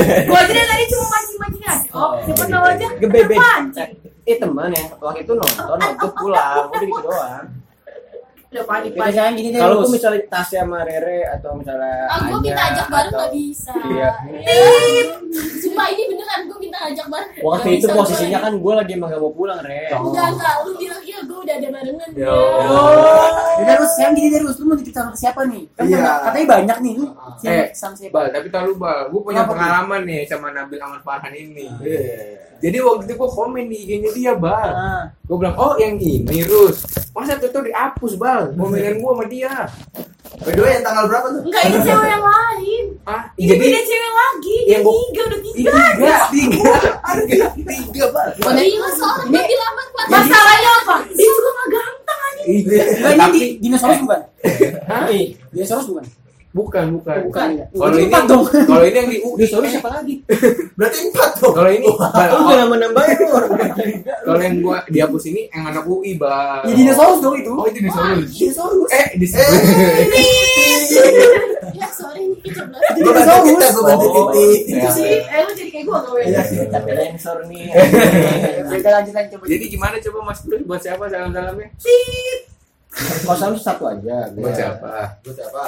S3: Gue aja dari tadi cuma mancing-mancing aja kok. Siapa tahu aja.
S5: gebebe
S3: Pancing.
S5: eh teman ya waktu itu nonton waktu pulang udah gitu doang
S3: Udah panik
S1: Kita
S3: panik.
S1: jangan gini deh,
S5: kalau
S1: Lus.
S5: gua misalnya Tasya sama Rere atau misalnya
S4: ah gue minta ajak bareng
S5: atau-
S4: gak bisa
S5: Iya.
S4: Tip. sumpah ini beneran gue minta ajak bareng
S5: waktu
S4: Nggak
S5: itu
S4: bisa,
S5: posisinya
S4: gua-
S5: kan gue lagi emang gak mau pulang Oh, Re
S4: enggak enggak lu bilang iya gue udah ada barengan ya
S2: Oh.
S1: Udah Lus, sekarang gini deh Rus, lu mau dititip sama siapa nih? Kan
S6: Iya.
S1: banyak- katanya banyak nih, lu siapa-
S2: Eh,
S1: sama siapa?
S2: Bal, tapi tahu lu, Bal, gue punya
S1: Kenapa,
S2: pengalaman nih sama Nabil Ahmad Farhan ini.
S6: Iya.
S2: Jadi waktu itu gue komen di IG-nya dia, Bal.
S1: Ah,
S2: Gue bilang, oh yang ini, Rus. Masa itu tuh dihapus, Bal. Komenan gue sama dia.
S6: By the way, yang tanggal berapa tuh?
S3: Enggak, ini cewek yang lain.
S2: Ah,
S3: Ini
S2: jadi
S3: beda cewek lagi.
S2: Yang
S3: Yang
S2: gua- Iya,
S3: tiga udah tiga.
S2: tiga.
S6: Tiga. Tiga. Tiga, Bal.
S4: Gila, seorang Nabil Ahmad Farhan.
S3: Masalahnya apa? Dia juga nggak ganteng aja.
S1: Enggak, ini di- dinosaurus bukan?
S2: Hah?
S1: Dinosaurus bukan?
S2: Bukan, bukan.
S1: Bukan. ya? Itu
S2: Kalau ini,
S1: empat dong.
S2: kalau ini yang di UI.
S1: Dinosaurus siapa lagi?
S6: Berarti empat tuh.
S2: Kalau ini, Bal,
S5: Lu
S2: oh,
S5: jangan menambahin lu orang bukan tiga.
S2: kalau yang gue dihapus ini yang anak UI, Bal.
S1: Ya dinosaurus dong itu.
S2: Oh, itu dinosaurus.
S1: Dinosaurus.
S2: Eh, dinosaurus.
S6: Eh,
S4: Ya, sorry, ini keceblos.
S6: gue bantu kita, gue bantu
S5: Oh,
S6: titik.
S5: iya.
S3: Itu sih, eh lu jadi kayak gue nggak
S2: Iya,
S3: boleh.
S5: Tapi sensor nih.
S1: Kita lanjut lagi coba.
S2: Jadi gimana coba Mas Rus buat siapa salam-salamnya? Iya.
S5: Kalau selalu satu aja.
S2: Buat
S5: biar-
S2: siapa?
S6: Buat apa?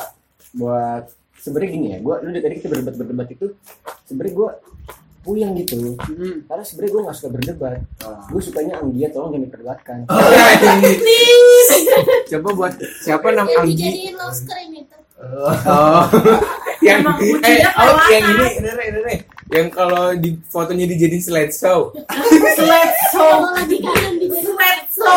S5: buat sebenarnya gini ya gue lu dari tadi kita berdebat berdebat itu sebenarnya gue puyeng gitu
S1: Hmm.
S5: karena sebenarnya gue nggak suka berdebat
S2: Ah.
S5: gue sukanya Anggia tolong jangan diperdebatkan Ya
S2: Iya, Coba buat siapa nam
S4: Yang
S2: Anggi?
S4: dijadiin love screen itu.
S2: Oh. yang
S3: Emang kucingnya
S2: eh, oh,
S3: kelewatan.
S2: yang ini, ini, ini, ini. Yang kalau di fotonya dijadiin slideshow.
S1: Seleso.
S4: Kalau lagi kanan dijadiin
S3: Sweatso.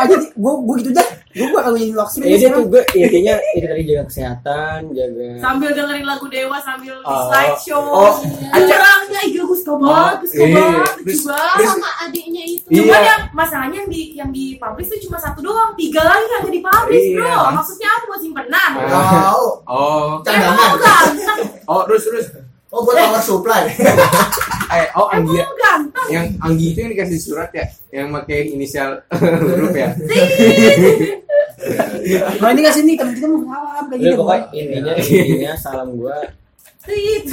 S1: Ah, jadi gua gua gitu dah. Gua bakal jadi locksmith.
S5: ya dia tuh gue ya kayaknya itu tadi jaga kesehatan jaga
S3: Sambil dengerin lagu Dewa sambil di
S5: Oh.
S3: slideshow.
S2: Oh,
S3: Kurangnya, iya gue suka banget, gue suka
S2: Iya.
S3: banget, lucu
S2: Terus-
S3: banget.
S4: sama adiknya itu.
S2: Iya.
S3: Cuman yang masalahnya yang di yang di publish tuh cuma satu doang, tiga lagi kagak di publish
S2: Iya.
S3: bro. Maksudnya apa buat simpenan?
S2: Ah.
S6: Tahu.
S2: Oh.
S3: Emang lu
S6: Cadangan.
S3: ganteng?
S2: Oh, terus terus
S6: Oh, buat power supply.
S2: eh oh
S3: Emang
S2: Anggi
S3: lu ganteng?
S2: yang Anggi itu yang dikasih surat ya, yang pakai inisial huruf ya.
S1: Nah, ini kasih nih teman kita mau salam kayak
S5: Udah,
S1: gitu.
S5: pokoknya intinya intinya salam gue
S2: Iya,
S3: Tit.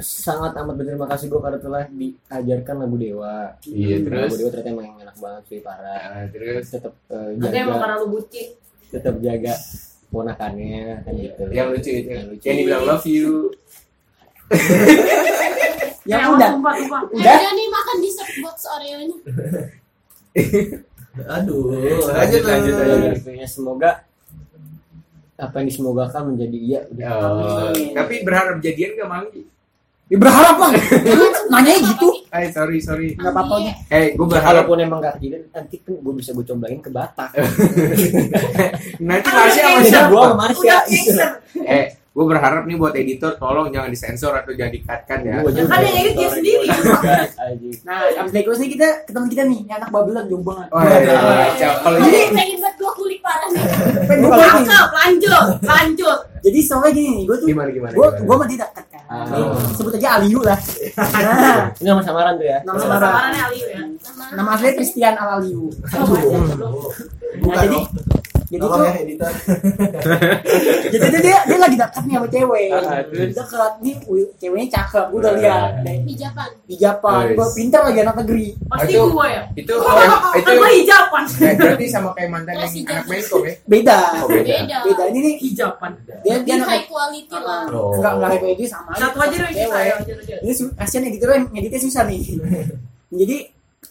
S5: sangat amat berterima kasih gue karena telah diajarkan lagu dewa
S2: Iya,
S5: lagu dewa ternyata emang enak banget sih parah
S2: Ah, terus
S5: tetap eh,
S3: Tapi
S2: iya.
S3: emang
S5: jaga
S3: karena lu bucin.
S5: tetap jaga ponakannya kan gitu
S2: yang lucu itu.
S5: Yang lucu.
S2: Yang dibilang love you.
S1: Ya
S3: Eh,
S1: udah.
S3: Sumpah, sumpah.
S1: Udah?
S4: Ada nih makan dessert box Oreo-nya.
S6: Aduh.
S2: Lanjut, lanjut,
S5: Saya
S2: lanjut.
S5: berpikirnya semoga apa yang disemogakan menjadi iya udah.
S2: Oh. Tapi berharap jadian gak Manggi?
S1: Ya berharap lah. Lu Nanyanya gitu.
S2: Eh, sorry, sorry.
S1: Enggak apa-apa.
S4: Iya.
S2: Eh, gue
S5: Ya,
S2: berharap
S5: kalaupun emang gak kejadian nanti kan gue bisa gue comblangin ke Batak.
S2: Iya. nanti Marsha sama
S5: Bisa
S2: siapa?
S5: gue sama Marsha. gitu.
S3: Udah gangster.
S2: Eh, gue berharap nih buat editor tolong jangan disensor atau jangan dikatkan ya.
S5: Gua
S3: Ya kan, yang edit dia
S5: Sorry,
S3: sendiri.
S5: gua juga.
S1: Nah, abis dari kursi kita ke teman kita nih, yang anak babelan jomblo Nah, banget.
S2: Oh, iya, iya, iya. Kalau
S4: Ada
S2: ini
S4: yang pengen buat gua kulik parah nih.
S1: Pengen gua balik nih.
S3: Cakep, lanjut, lanjut.
S1: Jadi soalnya gini nih, gue tuh
S2: gimana gimana?
S1: gue
S2: gimana?
S1: gue mah tidak dekat kan.
S5: Iya, Ah.
S1: Nih, Sebut aja Aliu lah. Nah,
S5: Ini nama samaran tuh ya.
S1: Nama
S3: Sama
S1: samaran.
S3: samarannya Aliu ya.
S1: nama aslinya Christian Al Aliu. Nah,
S6: Bukan
S1: jadi
S6: dong.
S1: jadi
S6: Tolong
S1: tuh
S6: ya editor.
S1: jadi tuh dia dia lagi dekat nih sama cewek.
S2: Ah, terus?
S1: Dekat nih, wih, ceweknya cakep, gue
S5: Ah.
S1: udah lihat. Dari-
S4: Hijapan.
S1: Di Jepang,
S2: Nice.
S1: gue pinter lagi anak negeri.
S3: Pasti
S2: Itu-
S3: gue ya.
S2: Itu
S3: Kan
S2: itu
S3: gue hijapan.
S2: eh, berarti sama kayak mantan yang
S4: Masih
S2: anak
S4: jadi.
S2: Menko ya.
S1: Beda.
S2: Oh, beda.
S4: Beda.
S1: Beda. Ini nih
S3: Hijapan.
S1: dia
S4: Di
S1: dia anak
S4: high quality lah.
S2: Oh.
S1: Enggak enggak kayak gitu sama aja.
S3: Satu aja deh kita
S1: Cewek.
S3: ya. aja deh.
S1: Ini su- kasihan editor yang ngeditnya susah nih. Jadi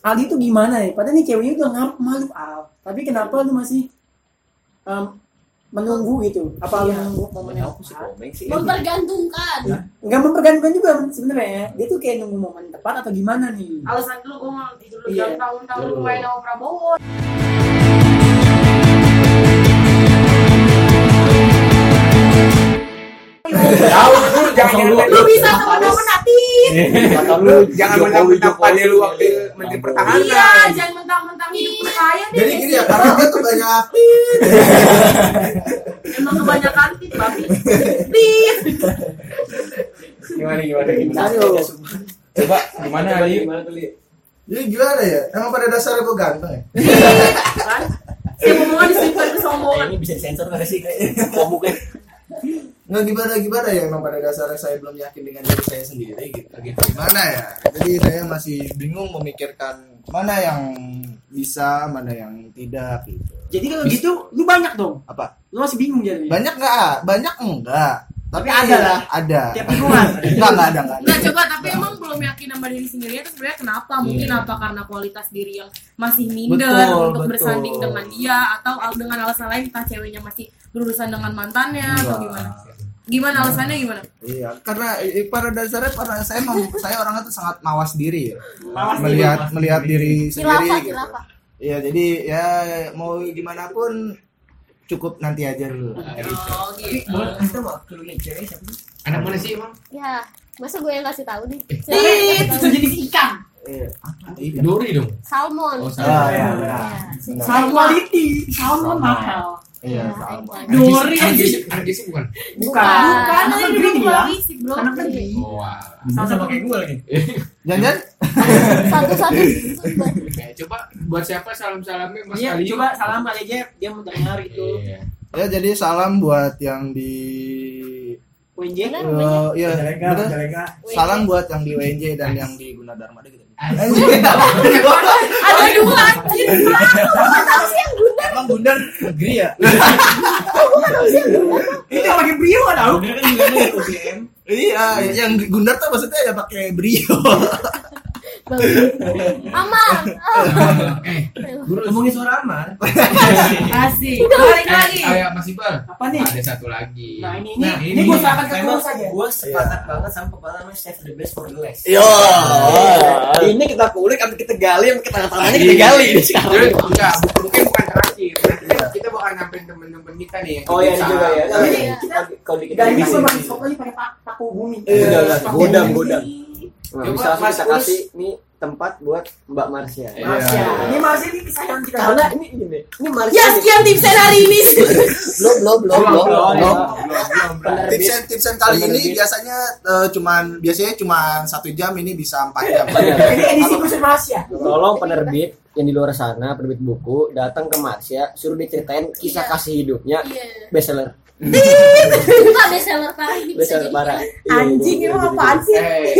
S1: Ali tuh gimana nih? Padahal nih ceweknya udah ngap malu al. Tapi kenapa lu masih em, menunggu gitu? Apa lu menunggu momen yang tepat?
S5: Komeng sih.
S4: Mempergantungkan.
S1: Enggak mempergantungkan juga sebenarnya. Dia tuh kayak nunggu momen tepat atau gimana nih?
S3: Alasan dulu gue mau tidur dulu
S1: Iya.
S3: jangan tahun-tahun gue main sama Prabowo.
S2: Tahu lu jangan
S3: Lu bisa sama temen hati.
S5: Iya. Kata lu
S2: lu jangan mentang-mentang pada lu waktu menteri
S5: Jokowi.
S2: pertahanan.
S3: Iya, jangan mentang-mentang hidup perkaya deh.
S6: Jadi gini ya, karena dia tuh banyak
S3: Emang kebanyakan tit, babi. Tit.
S2: Gimana gimana gimana?
S1: Cari lo.
S2: Coba gimana Ali?
S6: Jadi gimana ya? Emang pada dasarnya gue ganteng ya?
S3: Kan? Saya omongan disimpan kesombongan.
S5: Nah, Ini bisa sensor nggak sih? Komuknya.
S6: Nggak gimana-gimana ya, emang pada dasarnya saya belum yakin dengan diri saya sendiri gitu. gitu. Gimana ya? Jadi saya masih bingung memikirkan mana yang bisa, mana yang tidak gitu.
S1: Jadi kalau gitu lu banyak dong.
S6: Apa?
S1: Lu masih bingung jadinya.
S6: Banyak nggak? Banyak enggak? Tapi iya.
S1: ada lah.
S6: Ada.
S1: Tiap lingkungan.
S6: Enggak, enggak ada, enggak ada.
S3: Nah coba tapi emang belum yakin sama diri sendirinya itu sebenarnya kenapa? Mungkin apa karena kualitas diri yang masih minder
S6: Betul,
S3: untuk
S6: betul.
S3: bersanding dengan dia atau al- dengan alasan lain entah ceweknya masih berurusan dengan mantannya atau gimana? Gimana alasannya gimana?
S6: Iya, karena eh, pada dasarnya pada saya mem- saya orangnya tuh sangat mawas diri ya. melihat melihat diri sendiri
S4: Khilafah,
S6: gitu.
S4: khilafah.
S6: Iya, jadi ya mau gimana pun cukup nanti aja dulu.
S3: Oh gitu.
S2: Boleh kasih cewek siapa Anak mana sih emang?
S4: Ya, masa gue yang kasih tahu nih?
S3: Itu jenis ikan.
S6: Iya. Iya.
S2: Dori dong.
S4: Salmon. Ya,
S2: Oh,
S6: Ah,
S2: salah.
S6: iya, benar. Benar.
S1: Salmon quality, salmon mahal.
S6: Iya,
S4: Ya,
S6: sama.
S4: ikan.
S1: Dori.
S2: Anak gizi- Anak gizi bukan?
S4: Bukan.
S1: Bukan,
S3: Karena
S1: anak
S3: ini
S1: negeri
S3: belum
S1: bilang.
S3: fisik belum.
S1: Anak negeri.
S2: Oh, wah.
S1: Sama-sama
S10: pakai gue lagi.
S6: Jangan-jangan
S4: Satu-satu.
S2: Oke, Eh, coba buat siapa salam-salamnya Mas
S10: Iya,
S2: Ali?
S10: coba salam kali aja dia mau dengar gitu.
S2: Iya.
S6: Ya jadi salam buat yang di
S10: UNJ.
S4: Benar, namanya.
S6: eh, ya, betul. Salam buat yang di WNJ dan yang di Gunadarma deh gitu. Anjing.
S3: Ada dua anjir.
S4: Tahu sih yang guna.
S6: Emang Gundar negeri ya?
S1: Ini yang pakai brio kan tau?
S10: Bener kan juga lu ya, UGM.
S6: Iya, yang Gundar tuh maksudnya ya pakai brio.
S4: Aman.
S2: Eh,
S10: Ngomongin suara aman.
S3: Asik. Balik lagi.
S4: Iya.
S2: kayak eh, Mas Iqbal.
S1: Apa nih?
S2: Ada satu lagi.
S1: Nah ini, ini, ini gue serahkan ke kurus aja.
S10: gue sepakat banget sama kepala namanya save the best for the last.
S7: Yo, ini kita kulik, sampai kita gali, sampai kita tangannya kita gali ini sekarang.
S2: Jadi, enggak, bu- mungkin bukan terakhir. Nanti kan kita bakal nyampein temen-temen kita nih. yang
S10: Oh iya
S2: kita-
S10: juga ya.
S7: Tapi,
S10: Kalau dikit
S5: Iya.
S1: Gak ini
S10: bisa.
S1: sama sopnya pakai pak- paku bumi.
S7: Iya, iya.
S1: Paku
S7: Godam,
S1: bumi. Iya.
S7: godam.
S5: Nah,
S2: Coba
S5: bisa langsung
S2: Mas
S5: kita
S2: Ulus.
S5: kasih nih tempat buat Mbak Marsha.
S2: Iya.
S1: Masya. ya, Ini masih ini kesayangan kita.
S5: Karena ini gini, ini Marsha
S3: Ya sekian tips hari ini.
S7: Belum, belum, belum,
S2: Belum,
S7: belum,
S2: belum,
S7: belum.
S2: belum, belum.
S6: Tips and tips and kali
S5: Bener,
S6: ini
S5: Dit.
S6: biasanya eh, cuman biasanya cuman satu jam ini bisa empat jam.
S1: Ini edisi ya? khusus Malaysia.
S5: Tolong penerbit yang di luar sana, penerbit buku, datang ke Marsha, suruh diceritain kisah
S4: Iya.
S5: kasih hidupnya,
S4: Iya.
S5: bestseller,
S4: Bukan bestseller parah ini bisa
S5: bestseller
S4: jadi.
S5: parah. Iya,
S1: Anjing
S5: iya,
S1: emang
S5: iya,
S1: apaan sih?
S2: Eh,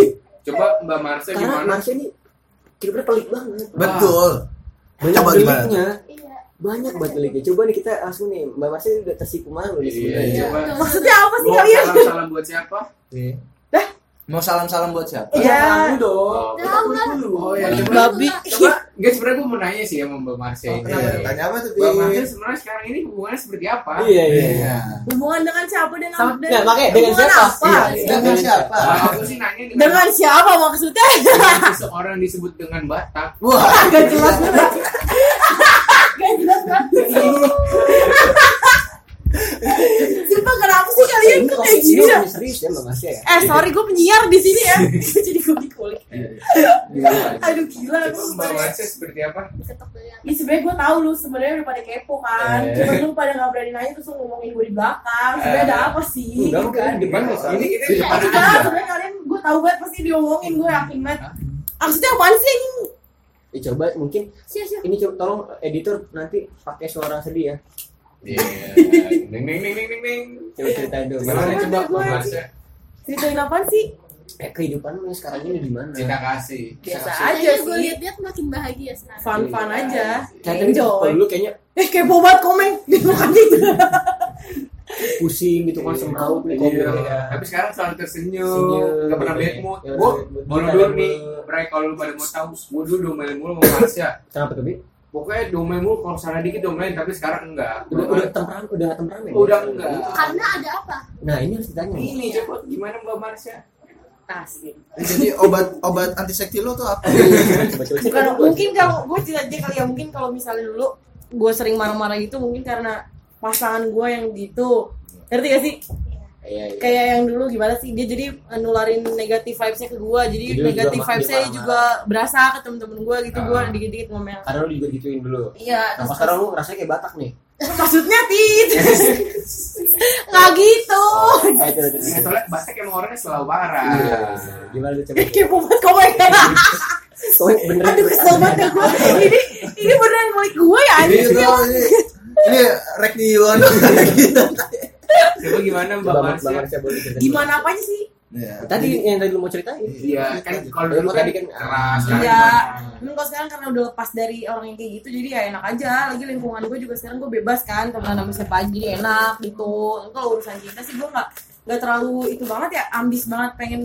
S2: coba Mbak Marsha
S5: iya. Karena
S2: gimana?
S5: Marsha ini hidupnya pelik banget.
S6: Betul.
S5: Banyak
S6: Coba gimana?
S5: deliknya.
S4: Iya.
S5: Banyak banget deliknya. Coba nih kita langsung nih, Mbak Marsha udah tersipu malu
S2: Iya,
S5: nih sebenarnya.
S2: coba.
S1: Maksudnya apa sih
S2: Mau
S1: kalian?
S2: salam-salam buat siapa?
S6: Mau salam-salam buat siapa?
S1: Ya.
S10: Kamu dong.
S2: Oh,
S4: Tahu lah.
S2: Oh ya, coba.
S4: Babi.
S5: Iya,
S2: Coba, enggak sebenarnya gue mau nanya sih sama Mbak Marsha ini.
S6: Tanya apa tuh?
S2: Mbak Marsha sebenarnya sekarang ini hubungannya seperti apa?
S5: Iya, iya.
S3: Hubungan dengan siapa dan
S1: Sama-
S3: dan-
S5: Nah, makanya dengan
S3: hubungan
S5: siapa?
S3: apa?
S5: Iya,
S6: Dengan siapa?
S2: Kalau aku sih nanya dengan,
S3: Dengan
S1: Kan
S3: siapa maksudnya?
S2: dengan seseorang disebut dengan Batak.
S6: Wah,
S1: Gak jelas banget.
S3: Sumpah kenapa sih kalian
S5: Ini
S3: tuh
S5: kalau
S3: kayak gini ya?
S5: ini serius ya Mbak Marsha ya.
S3: Eh sorry gue penyiar di sini ya. Jadi gue dikulik. Aduh gila.
S2: Coba
S3: gue
S2: Mbak
S3: sebenarnya-
S2: Marsha seperti apa?
S4: Ketok dulu ya.
S3: Ya sebenarnya gue tahu lu sebenarnya udah pada kepo kan.
S2: Eh.
S3: Cuma lu pada nggak berani nanya terus lu ngomongin gue di belakang. Sebenarnya ada
S2: Eh.
S3: apa sih?
S5: Enggak,
S3: gitu
S5: bukan.
S3: kan?
S5: Di depan nggak salah.
S2: Ini kita di
S4: Iya,
S2: depan
S3: Enggak,
S2: aja.
S3: sebenarnya kalian gue tahu banget pasti diomongin gue yakin banget. Maksudnya apaan sih ini?
S5: Ya, coba mungkin
S4: Siap, siap.
S5: ini coba tolong editor nanti pakai suara sedih ya.
S2: Iya. Neng neng neng neng neng neng.
S3: Iya.
S5: Coba ceritain dulu.
S2: Gimana
S3: Gimana
S2: coba
S3: gue?
S2: Mbak Marsha?
S3: Ceritain apaan sih?
S5: Eh, kehidupan lu sekarang ini gimana?
S2: Cinta kasih. Iya.
S3: Biasa aja
S4: Kayaknya gue
S3: sih.
S4: Iya, liat dia makin bahagia sekarang.
S3: Fun-fun aja.
S2: iya.
S5: Kayaknya gitu,
S3: Enjoy.
S5: kalau dulu kayaknya
S3: Eh kepo banget komeng. Dia bukan gitu.
S5: pusing gitu kan semraut nih
S2: Iya.
S5: kalau
S2: Tapi sekarang selalu tersenyum,
S5: Senyum.
S2: nggak pernah bad mood.
S5: Nggak
S2: Gue
S5: pernah bad mood.
S2: baru
S5: Kita
S2: dulu
S5: ada
S2: nih,
S5: mood.
S2: Bray kalau lu pada mau tahu, gue dulu domain mulu sama Marsha.
S5: Kenapa tuh, Bi?
S2: Pokoknya domain mulu kalau salah dikit domain, tapi sekarang enggak.
S5: Udah udah temperamen, udah nggak temperamen.
S2: Udah enggak.
S4: Karena ada apa?
S5: Nah, ini harus ditanya.
S2: Ini coba gimana Mbak Marsha?
S5: Iya.
S3: Asik.
S6: jadi obat obat antiseptik lu tuh apa?
S5: Coba-coba
S3: Bukan, mungkin kalau gue cerita aja kali ya mungkin kalau misalnya dulu gue sering marah-marah gitu mungkin karena pasangan gue yang gitu ngerti gak sih
S5: Iya, iya.
S3: kayak yang dulu gimana sih dia jadi nularin negatif vibesnya ke gue jadi
S5: Jadi lu
S3: negatif
S5: juga ma-
S3: vibesnya
S5: dia
S3: juga berasa ke temen-temen gue gitu gue dikit-dikit ngomel
S5: Karena lu juga gituin dulu.
S3: iya
S5: Nah,
S3: terus-
S5: pas Nah, sekarang lu Iya. rasanya kayak Batak nih.
S3: maksudnya tit nggak gitu
S5: Ayo, coba, coba,
S2: Ini
S5: coba.
S2: Iya, soalnya Batak emang orangnya selalu marah.
S5: Iya. Gimana lu coba?
S3: kepo banget kau
S5: Kau bener.
S3: aduh kesel banget gue ini ini beneran ngulik gue ya
S6: Ini
S3: anjing
S6: ini ini rek di Yono.
S2: Coba gimana Mbak
S5: Coba Mbak
S2: Marsha?
S5: Marsha boleh diceritain.
S3: gimana apanya sih
S5: Tadi yang tadi lu mau ceritain.
S2: Iya, kan kalau
S5: Iya,
S2: dulu
S5: kok
S2: kan
S5: tadi kan-
S2: keras. sekarang
S3: Iya,
S2: gimana?
S3: cuman kalau sekarang karena udah lepas dari orang yang kayak gitu jadi ya enak aja. Lagi lingkungan gue juga sekarang gue bebas kan teman sama siapa aja jadi enak gitu. Kalau urusan cinta sih gue nggak nggak terlalu itu banget ya ambis banget pengen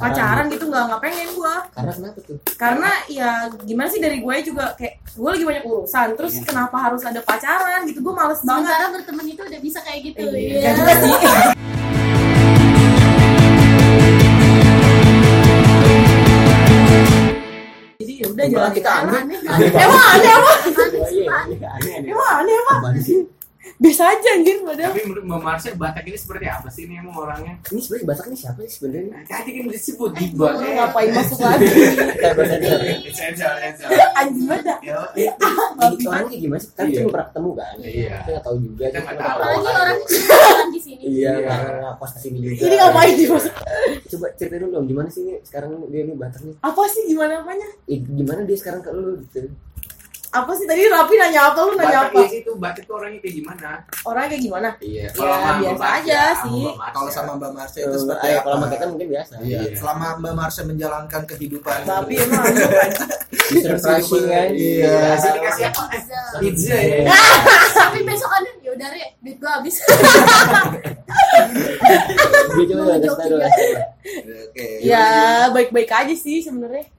S3: pacaran, gitu nggak nggak pengen gue
S5: Karena kenapa tuh?
S3: karena ya gimana sih dari gue juga kayak gue lagi banyak urusan terus kenapa harus ada pacaran gitu gue males banget
S4: Sementara berteman itu udah bisa kayak gitu.
S3: ya
S4: Iya.
S3: juga sih jadi ya udah jalan kita aneh emang aneh apa
S5: Iya,
S3: emang aneh apa biasa aja anjir padahal
S2: Tapi menurut Mbak Marsha, Batak ini seperti apa sih ini emang orangnya?
S5: Ini sebenarnya Batak nih siapa sih
S3: Iya,
S5: sebenarnya?
S2: Tadi kan disebut Iya. Diba.
S3: Lu ngapain masuk lagi iya.
S2: Sensor, sensor.
S3: anjing banget
S2: Yo,
S5: Ini orang kayak gimana sih? Kan
S2: Iya.
S5: kita pernah ketemu kan?
S2: Iya.
S5: Kita nggak tahu juga.
S2: Kita nggak tahu.
S4: Apalagi orang kesukaan di sini.
S5: Iya,
S2: Iya.
S5: nggak pas kesini juga.
S3: ini ngapain di masuk
S5: Coba ceritain dulu dong, gimana sih ini sekarang dia nih Batak nih?
S3: apa sih gimana apanya
S5: Eh, gimana dia sekarang ke lu gitu?
S3: apa sih tadi rapi nanya apa lu
S2: Batak
S3: nanya apa
S2: iya sih itu Batak tuh orangnya kayak gimana?
S3: orangnya kayak gimana
S5: Iya.
S2: Kalau sama Mbak
S3: biasa
S2: Marsha,
S3: aja
S2: sama
S3: sih.
S2: Mbak Marsha.
S6: Kalau sama Mbak Marsha itu seperti
S5: Eh,
S6: apa?
S5: kalau sama kita mungkin biasa.
S6: Iya.
S2: Iya.
S6: Selama Mbak Marsha menjalankan kehidupan.
S3: tapi emang anjing, anjing.
S5: Disertasi kan? Iya.
S6: Iya.
S2: Kasih dikasih apa?
S4: Zah.
S2: Pizza ya.
S4: Tapi besokannya yaudah re, duit gua habis.
S5: Dia coba nggak kasih tahu.
S6: Oke.
S3: ya baik-baik aja sih sebenarnya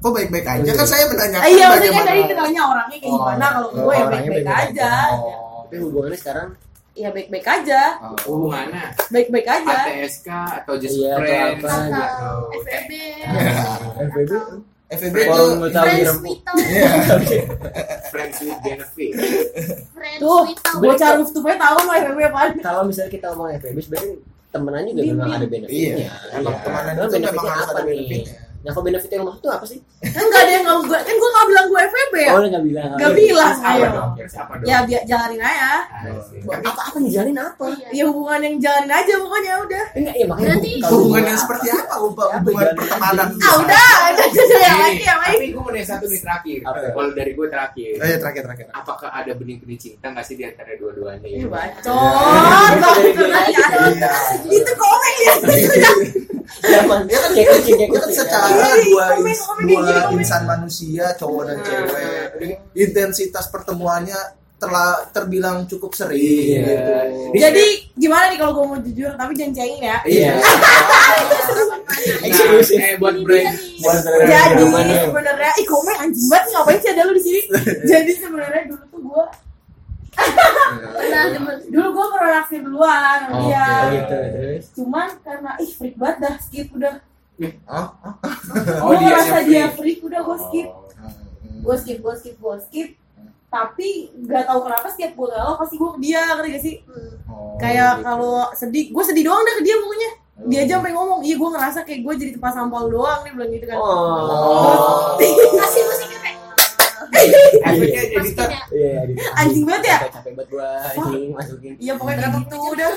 S6: Kok baik-baik aja kan saya menanyakan
S3: Ah, iya maksudnya kan
S6: bagaimana.
S3: tadi kenalnya orangnya kayak
S6: Oh,
S3: gimana kalau
S6: oh,
S3: gue ya
S6: orangnya
S3: baik-baik
S6: baik-baik
S3: aja
S6: Oh.
S5: Tapi hubungannya sekarang
S3: ya baik-baik aja
S2: Hubungannya
S3: baik-baik aja
S2: ATSK atau just
S5: Iya, atau
S2: friends.
S5: apa.
S4: Atau
S2: Atau-
S4: FEB.
S5: FBB
S6: FEB itu
S5: forum betawi
S4: Friends
S5: rempuk.
S4: with Tom.
S2: Friends with benefit.
S4: Friends
S3: tuh
S4: with Tom.
S3: bocah rooftopnya tahu loh FMW apaan
S5: Kalau misalnya kita ngomong FBB sebenarnya temenan juga
S3: Bimbing.
S5: memang ada benefitnya.
S6: Iya. Emang
S5: Temenan
S6: temenan
S5: itu
S6: itu memang
S5: benefitnya
S6: harus
S5: apa
S6: ada
S5: nih?
S6: benefitnya.
S5: Nah, kalau benefitnya rumah itu apa sih?
S3: kan gak ada yang ngomong gue kan gue gak bilang gue FMW ya
S5: Oh, udah nggak bilang.
S3: gak bilang
S2: Terus apa
S3: ayo
S2: dong? Terus apa dong? Ah,
S3: ya biar jalanin aja
S2: Asik.
S5: Apa apa nih jalanin apa?
S4: Iya.
S3: ya hubungan yang jalanin aja pokoknya udah
S5: Enggak, ya makanya
S4: Berarti-
S5: kalau
S6: Hubungan yang
S5: apa?
S6: seperti apa? Hubungan
S5: Apa?
S6: pertemanan.
S3: ah udah udah udah yang lagi
S2: Ini,
S3: yang lagi
S2: Tapi gue mau nanya satu nih terakhir.
S5: Apa?
S2: Kalau dari gue terakhir.
S6: Eh terakhir terakhir.
S2: Apakah ada benih-benih cinta nggak sih di antara dua-duanya?
S3: Ih, bacot
S5: Iya.
S3: banget
S6: Iya.
S3: itu komen ya
S5: Zaman.
S6: Ya kan,
S5: Iya, Kayak kucing, kayak
S6: Itu kan
S5: kucing.
S6: secara
S3: Iya, iya,
S6: dua
S3: komen,
S6: ins-
S3: komen,
S6: dua
S3: jadi komen.
S6: insan manusia cowok dan
S2: Nah,
S6: cewek intensitas pertemuannya terla, terbilang cukup
S2: Iya.
S6: sering gitu.
S2: eh,
S3: jadi gimana nih kalau gue mau jujur tapi jangan cengin ya
S2: Iya. Nah,
S5: Eksklusif.
S2: eh buat
S4: Iya.
S2: brand.
S5: Buat brand.
S3: jadi
S5: Nyaman ya.
S3: sebenarnya ih komen anjing banget ngapain sih ada lu di sini jadi sebenarnya dulu tuh gue
S4: Pernah demen.
S3: dulu gue pernah naksir duluan sama
S5: Oke,
S3: dia
S5: gitu. Terus
S3: cuman karena ih freak banget dah skip udah Eh,
S6: Hah?
S3: gue merasa
S2: yang
S3: ah, Oh, dia
S2: free.
S3: freak Oh. udah gue skip gue skip gue skip gue skip tapi nggak tahu kenapa setiap gue galau pasti gue ke dia ngerti gak sih
S4: Hmm.
S6: Oh,
S3: kayak
S6: gitu.
S3: kalau sedih gue sedih doang deh ke dia pokoknya dia aja sampai ngomong iya gue ngerasa kayak gue jadi tempat sampah lu doang nih bilang gitu kan
S5: Oh.
S4: Kasih musiknya Re.
S2: Efeknya jadi ter.
S4: Masukin ya.
S5: Iya, gitu.
S3: Anjing banget ya?
S5: Capek- Capek banget gua anjing masukin.
S3: iya pokoknya kayak gitu udah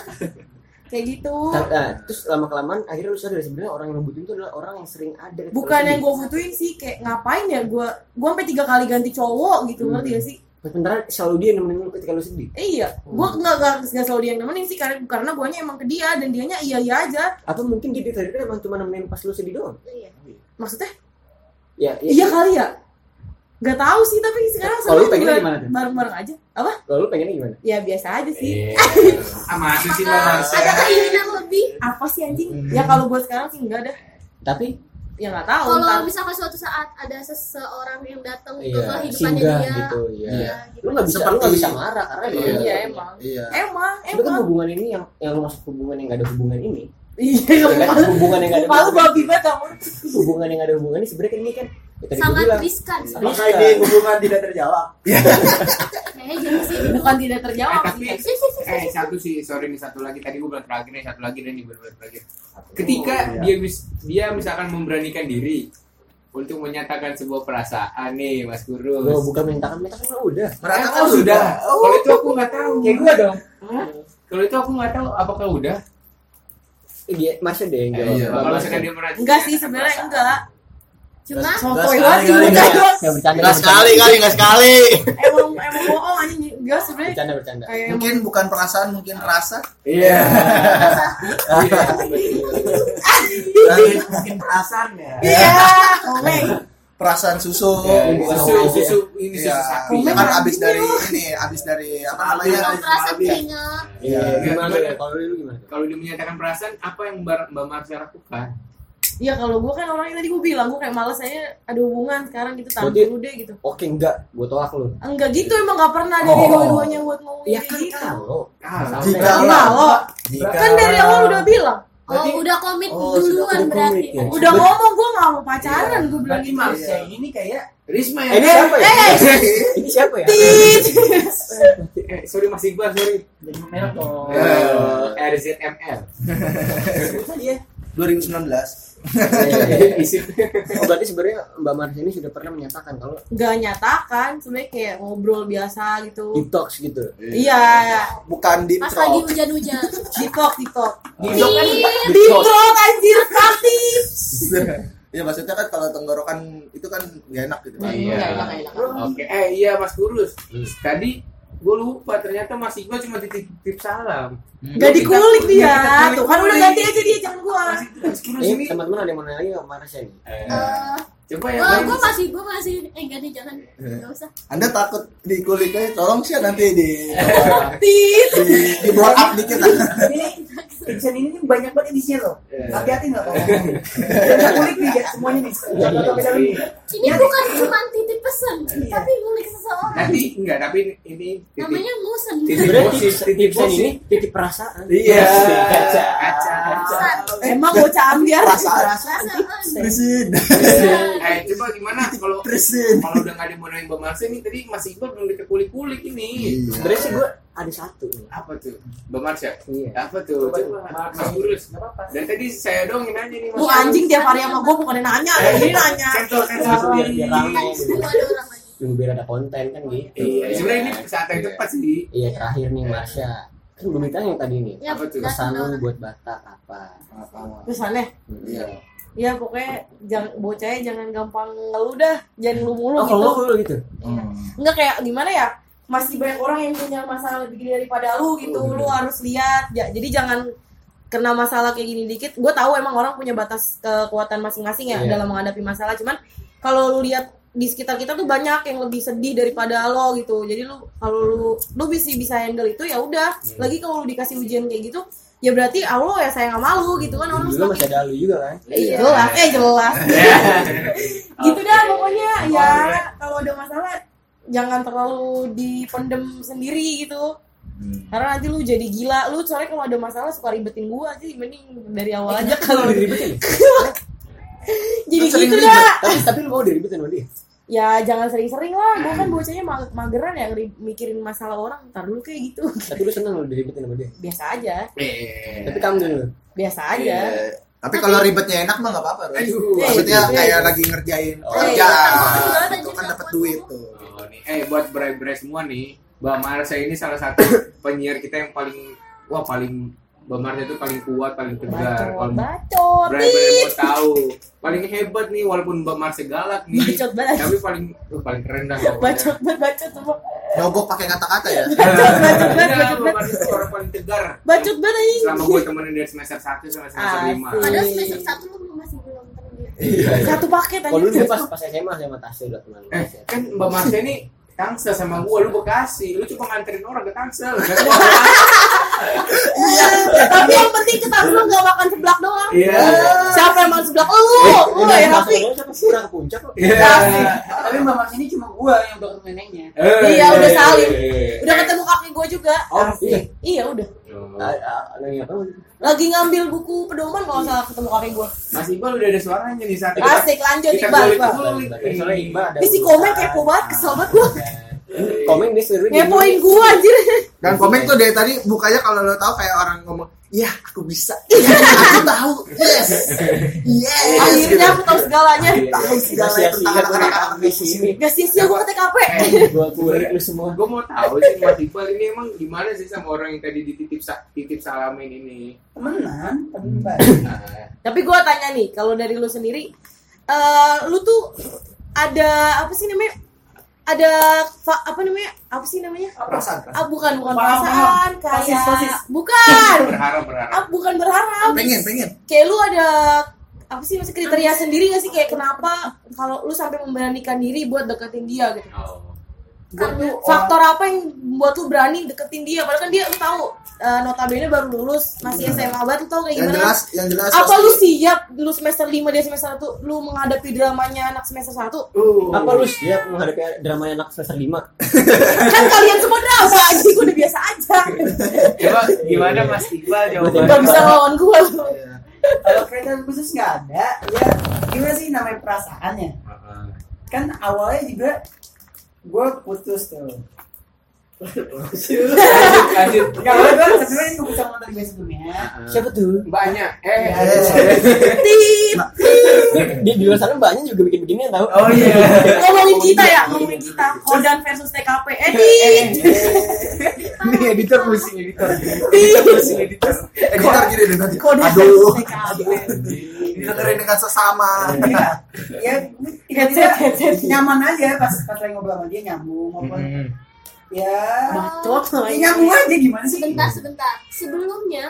S3: kayak gitu
S5: Ta- Nah, terus lama kelamaan akhirnya lu sadar ya, sebenarnya orang yang ngebutin itu adalah orang yang sering ada.
S3: bukan yang gue butuhin sih kayak ngapain ya gue gue sampai tiga kali ganti cowok gitu
S5: Hmm.
S3: ngerti gak sih
S5: Sementara selalu dia yang nemenin lu ketika lu sedih.
S3: eh, iya gue
S5: Hmm.
S3: nggak nggak nggak selalu dia yang nemenin sih karena karena gue emang ke dia dan dianya iya iya aja
S5: Apa mungkin dia dari tadi emang cuma nemenin pas lu sedih doang?
S4: Iya.
S3: maksudnya
S5: Ya,
S3: iya kali ya nggak tahu sih tapi sekarang
S5: Kalau lu
S3: sebenarnya
S5: pengennya
S3: juga
S5: gimana tuh?
S3: bareng bareng aja apa
S5: Kalau lu pengennya gimana?
S3: ya biasa aja sih
S2: Iya. Ah, masa sih Eh, Mbak Marsha?
S4: Ada keinginan lebih.
S3: apa sih
S5: Hmm.
S3: anjing ya kalau gue sekarang sih enggak dah
S5: Tapi
S3: ya nggak tahu ntar.
S4: Kalau misalkan suatu saat ada seseorang yang datang ke
S5: iya,
S4: kehidupannya
S5: singgah
S4: dia.
S5: gitu,
S4: Iya,
S5: iya.
S4: gitu.
S5: Lu nggak bisa, lu
S6: Seperti-
S5: nggak bisa marah karena emang
S6: Iya.
S3: iya emang
S6: Iya.
S3: emang
S5: Tapi kan
S3: emang
S5: hubungan ini yang yang masuk hubungan yang gak ada hubungan ini.
S3: iya
S5: Ya kan? hubungan yang gak ada
S3: muka lu babi banget kamu
S5: hubungan yang gak ada hubungan ini sebenarnya kan ini kan ya tadi gue
S4: Sangat
S5: bilang
S4: riskan.
S5: Maka ini
S6: Iya.
S7: hubungan tidak terjawab.
S4: Kayaknya jadi sih.
S3: bukan tidak
S2: Eh,
S3: terjawab
S2: tapi
S3: sih
S2: eh satu sih, sorry nih satu lagi. Tadi gue bilang terakhir nih, satu lagi nih gue bilang terakhir. Ketika dia bis- dia misalkan memberanikan diri untuk menyatakan sebuah perasaan nih Mas
S5: gue
S2: Gurus.
S5: bukan mintakan mintakan mah kan, udah
S6: Merata kan
S2: Oh, sudah. Kalau itu aku nggak tahu.
S10: Kayak gue dong.
S2: Hah? Kalau itu aku nggak tahu apakah udah.
S5: Eh, dia masih deh yang jawab
S6: Iya.
S5: Nggak
S2: Kalau
S5: masih.
S2: misalkan dia merasa
S3: enggak sih sebenarnya enggak
S4: Cuma
S3: sotoy
S6: sekali
S3: banget sih
S6: kali,
S3: bocah
S5: Nggak,
S3: gua.
S5: nggak bercanda
S7: Enggak
S5: nggak
S7: sekali kali, enggak sekali.
S3: emang emang bohong anjing enggak
S5: bercanda.
S3: sebenarnya
S5: bercanda bercanda
S3: kayak emang
S6: Mungkin bukan perasaan, mungkin rasa.
S2: Iya.
S6: Tapi mungkin perasaan ya.
S3: iya komeng
S6: perasaan susu
S5: Iya,
S6: gitu.
S2: susu susu ini susu
S6: Iya,
S2: sapi
S6: ya kan abis dari ini, abis dari apa namanya?
S4: Emang perasa
S6: ya.
S4: keringat.
S5: Iya.
S2: Gimana?
S5: Gimana ya? Kalau lu gimana?
S2: kalau dia menyatakan perasaan apa yang Mbak Mbak Marsha lakukan
S3: Iya kalau gue kan orangnya tadi gue bilang gue kayak malas saya ada hubungan sekarang gitu tahan
S5: Berarti-
S3: dulu deh gitu.
S5: Oke enggak, gue tolak lu.
S3: Enggak gitu emang gak pernah dari
S6: Oh.
S3: dua-duanya buat ngomong
S5: Iya
S3: kayak
S5: kan
S3: gitu.
S5: kalau. ya.
S2: kalau
S6: Jika
S3: Enggak loh.
S6: jika
S3: Kan dari awal udah
S2: Nah,
S3: bilang
S4: Oh, udah komit
S6: Oh, sudah
S4: duluan
S6: komit,
S4: berarti.
S5: ya.
S3: udah ngomong gue gak mau pacaran gue bilang Eh,
S1: Berarti
S3: gitu.
S1: Marsha ini kayak
S2: Risma ya
S5: Ini siapa ya?
S1: ini siapa ya?
S5: Iya,
S2: eh, sorry Mas Iqbal sorry
S1: Jadi merek dong.
S2: Eh, RZML
S6: 2019
S2: isi
S5: iya, Oh, berarti sebenarnya Mbak Marsha ini sudah pernah menyatakan kalau
S3: Gak nyatakan sebenarnya kayak ngobrol biasa gitu.
S5: detox gitu.
S3: Iya,
S6: bukan di
S4: Pas
S6: trok.
S4: lagi hujan-hujan. Iya.
S3: TikTok, TikTok.
S2: kan?
S4: Ih,
S3: TikTok anjir praktis.
S6: Iya maksudnya kan kalau tenggorokan itu kan gak enak gitu kan.
S2: Iya.
S3: Nggak enak, nggak enak.
S2: Oke, eh iya Mas Kurus. Tadi gue lupa ternyata Mas Iqbal cuma titip-titip salam.
S3: Gak dikulik dia.
S2: Kita kulik
S3: Tuh kan udah
S2: kulik.
S3: ganti aja dia jangan gua.
S2: Mas, Mas Kurus
S5: Ini
S2: ini.
S5: teman-teman ada yang mau nanya lagi sama Marsha ini?
S4: eh,
S2: Coba ya.
S4: Gua,
S2: Bang.
S4: gua masih, gua masih, eh ganti jangan, nggak usah.
S6: Anda takut dikuliknya tolong sih nanti di
S3: Tit.
S6: di, di blow up dikit lah.
S1: Ini Ibsen ini nih banyak banget edisinya loh.
S2: Eh,
S1: Hati-hati nggak kalau ngomong. Jangan kulik nih ya semuanya nih. Jangan
S2: iya,
S1: sampai dalam ini.
S4: Ini bukan cuma titip pesan, tapi ngulik seseorang.
S2: Nanti enggak, tapi ini titip
S4: Namanya ngusen.
S2: titip
S5: Sebenarnya
S2: posisi, titip
S5: Ibsen
S2: posisi.
S5: ini titip perasaan.
S2: Iya.
S5: Kaca.
S2: Kaca.
S3: Emang bocah ambiar.
S4: Perasaan.
S6: Presiden.
S4: Iya.
S2: Eh, coba gimana kalau
S6: Presiden.
S2: kalau udah nggak ada yang mau nanya Mbak Marsha nih tadi Mas Iqbal belum dikulik-kulik ini.
S5: Sebenarnya sih gue ada satu. nih.
S2: Apa tuh? Mbak Marsha?
S5: Iya.
S2: Apa tuh?
S1: Coba,
S2: Coba,
S1: coba.
S2: Mas Kurus.
S1: Nggak apa-apa.
S2: Dan tadi saya dong yang nanya nih Mas. Eh,
S3: Lu anjing tiap hari sama gua bukannya nanya, lu
S5: Eh,
S3: ini nanya.
S2: Sensor, sensor.
S5: Biar- Biar biar rame. gitu.
S4: Semua ada orang lagi.
S5: Tunggu biar ada konten kan gitu.
S2: Iya, sebenarnya ini saat yang tepat sih.
S5: Iya terakhir nih Marsha. Kan belum ditanya yang tadi nih.
S4: Ya,
S2: Apa tuh?
S5: Pesan lu
S4: datang
S5: buat Batak apa? eh.
S3: Terus aneh.
S6: Iya.
S3: Ya pokoknya jangan bocahnya jangan gampang ngeluh dah, jangan lu mulu
S5: Oh,
S3: gitu.
S5: kalau lu gitu.
S3: Enggak kayak gimana ya? Masih banyak orang yang punya masalah lebih gede daripada lu gitu. Lu harus lihat. Ja- jadi jangan kena masalah kayak gini dikit. Gue tahu emang orang punya batas kekuatan masing-masing ya
S5: Iya.
S3: dalam menghadapi masalah. Cuman kalau lu lihat di sekitar kita tuh banyak yang lebih sedih daripada lo gitu. Jadi lu kalau lu lu bisa bisa handle itu ya udah. Lagi kalau lu dikasih ujian kayak gitu, ya berarti Allah ya sayang sama lu gitu kan orang
S5: Dulu masih
S3: semakin
S5: ada lu juga kan?
S3: Iya. Jelas, eh jelas. gitu dah pokoknya ya kalau ada masalah jangan terlalu dipendem sendiri gitu. Karena nanti lu jadi gila, lu soalnya kalau ada masalah suka ribetin gua sih, mending dari awal aja kalau
S5: diribetin.
S3: jadi
S5: Sering
S3: gitu
S5: ribet.
S3: dah.
S5: Tapi tapi lu mau diribetin sama dia.
S3: Ya jangan sering-sering lah, gua kan bocahnya ma- mageran ya ngeri- mikirin masalah orang, ntar dulu kayak gitu.
S5: Tapi lu seneng lu diribetin sama dia.
S3: Biasa aja,
S2: Eh.
S5: Tapi kamu dulu.
S3: biasa aja.
S6: Tapi kalau ribetnya enak mah nggak apa-apa. Roy.
S2: Aduh.
S6: Maksudnya
S3: Iya.
S6: kayak lagi ngerjain
S5: Oh,
S6: kerjaan,
S4: iya.
S6: itu kan dapat duit tuh.
S2: Oh, nih. Eh buat berai-berai semua nih, Mbak Marsha ini salah satu penyiar kita yang paling wah paling Mbak Marsha itu paling kuat, paling tegar.
S3: Bacot,
S2: Kalau
S3: bacot,
S2: berai-berai mau tahu, paling hebat nih walaupun Mbak Marsha galak nih.
S3: bacot banget,
S2: Tapi paling uh, paling keren dah. pokoknya.
S3: bacot banget, bacot semua.
S6: Nyogok pakai kata-kata ya.
S2: Iya.
S3: Bacot, bacot
S2: Enggak,
S3: banget, bacot
S2: Mbak
S3: banget.
S2: Marsha itu orang paling tegar.
S3: Bacot banget anjing.
S2: Selama gue temenin dari semester 1 sampai semester
S3: Asik.
S2: 5.
S4: Padahal semester satu lu masih belum terbiasa.
S3: Satu paket
S5: Kalau dulu
S3: anjing.
S5: dia pas pas SMA sama Tasya udah teman
S2: Eh,
S5: Tasya.
S2: kan Mbak Marsha ini Tangsel sama gue, lu Bekasi, lu cuma nganterin orang ke Tangsel.
S3: Iya. Tapi yang penting kita semua gak makan seblak doang.
S2: Iya.
S3: Siapa yang makan seblak? Lu, lu ya tapi.
S5: Siapa sih pernah ke puncak kok?
S2: Iya.
S1: Tapi mama ini cuma gua yang bakal neneknya.
S2: Eh,
S3: Iya, udah salim. Udah ketemu kakek gue juga.
S5: Oh, iya.
S3: Iya udah.
S2: eh.
S5: Ah, ah, Nanya apa?
S3: Lagi ngambil buku pedoman kalau salah ketemu kakek gue.
S2: Mas Iqbal udah ada suaranya nih saat kita-
S3: Asik lanjut
S2: kita
S3: Iqbal.
S2: kulik
S3: Iqbal.
S2: dulu.
S5: Soalnya Iqbal ada
S3: Ini si komen kepo banget, kesel banget gue.
S5: Komen dia seru
S3: Ngepoin gue anjir.
S6: Dan komen tuh dari tadi bukanya kalau lo tahu kayak orang ngomong, "Iya, aku bisa. Iya, aku tahu. Yes. Yes."
S3: Akhirnya aku
S6: gitu.
S3: tahu segalanya.
S6: tahu segala tentang
S5: Sia-sia
S6: anak-anak
S5: di sini.
S3: Gak sia-sia gue ke TKP.
S5: Gua kurik lu semua.
S2: Gue mau tahu sih Mas Iqbal ini emang gimana sih sama orang yang tadi dititip sa- titip salamin ini.
S1: Temenan, tapi enggak.
S2: Nah,
S3: Tapi gue tanya nih, kalau dari lu sendiri, eh lu tuh ada apa sih namanya? Ada fa- apa namanya? Apa sih namanya?
S6: perasaan.
S3: Ah bukan bukan
S1: Paham,
S3: perasaan kayak
S1: Sosis, sosis.
S3: bukan.
S2: berharap berharap.
S3: ah bukan berharap.
S6: Pengen, pengen.
S3: Kayak lu ada apa sih masih kriteria sendiri gak sih kayak kenapa kalau lu sampai memberanikan diri buat deketin dia gitu
S2: Oh.
S3: faktor apa yang membuat lu berani deketin dia padahal kan dia lu tahu eh, notabene baru lulus masih SMA banget lu tahu kayak
S6: yang
S3: gimana
S6: jelas yang jelas
S3: apa lu siap lu semester 5 dia semester 1 lu menghadapi dramanya anak semester 1
S5: Apa lu Iya, siap menghadapi drama anak semester 5?
S3: kan kalian semua drama jadi gue udah biasa aja
S2: Coba gimana Mas Iqbal
S3: gak
S2: jawabannya?
S3: bisa lawan gue
S11: Kalau kriteria khusus nggak ada, ya gimana sih namanya perasaannya?
S2: Heeh.
S11: Kan awalnya juga gue putus tuh.
S2: Lanjut, lanjut.
S11: Nggak,
S1: Iya,
S11: gue gue sebenarnya putus sama mantan gue sebelumnya.
S5: Nah.
S11: Siapa tuh?
S2: Banyak. Eh,
S5: Di, di luar sana mbaknya juga ya, bikin beginian tau
S2: oh iya. iya,
S3: ngomongin kita ya ngomongin kita Kodan versus TKP edit
S2: Ini editor pusing editor. Editor pusing editor.
S6: editor gini deh tadi
S3: Kodan
S6: aduh
S3: versus TKP
S6: dengerin dengan sesama
S1: Iya,
S11: Ya, tidak nyaman aja pas pas lagi ngobrol sama dia nyambung
S2: Oh,
S11: ngobrol.
S2: Mm-mm.
S11: Ya,
S3: bacot
S11: ya nyambung aja gimana sih?
S4: eh, sebentar sebentar sebelumnya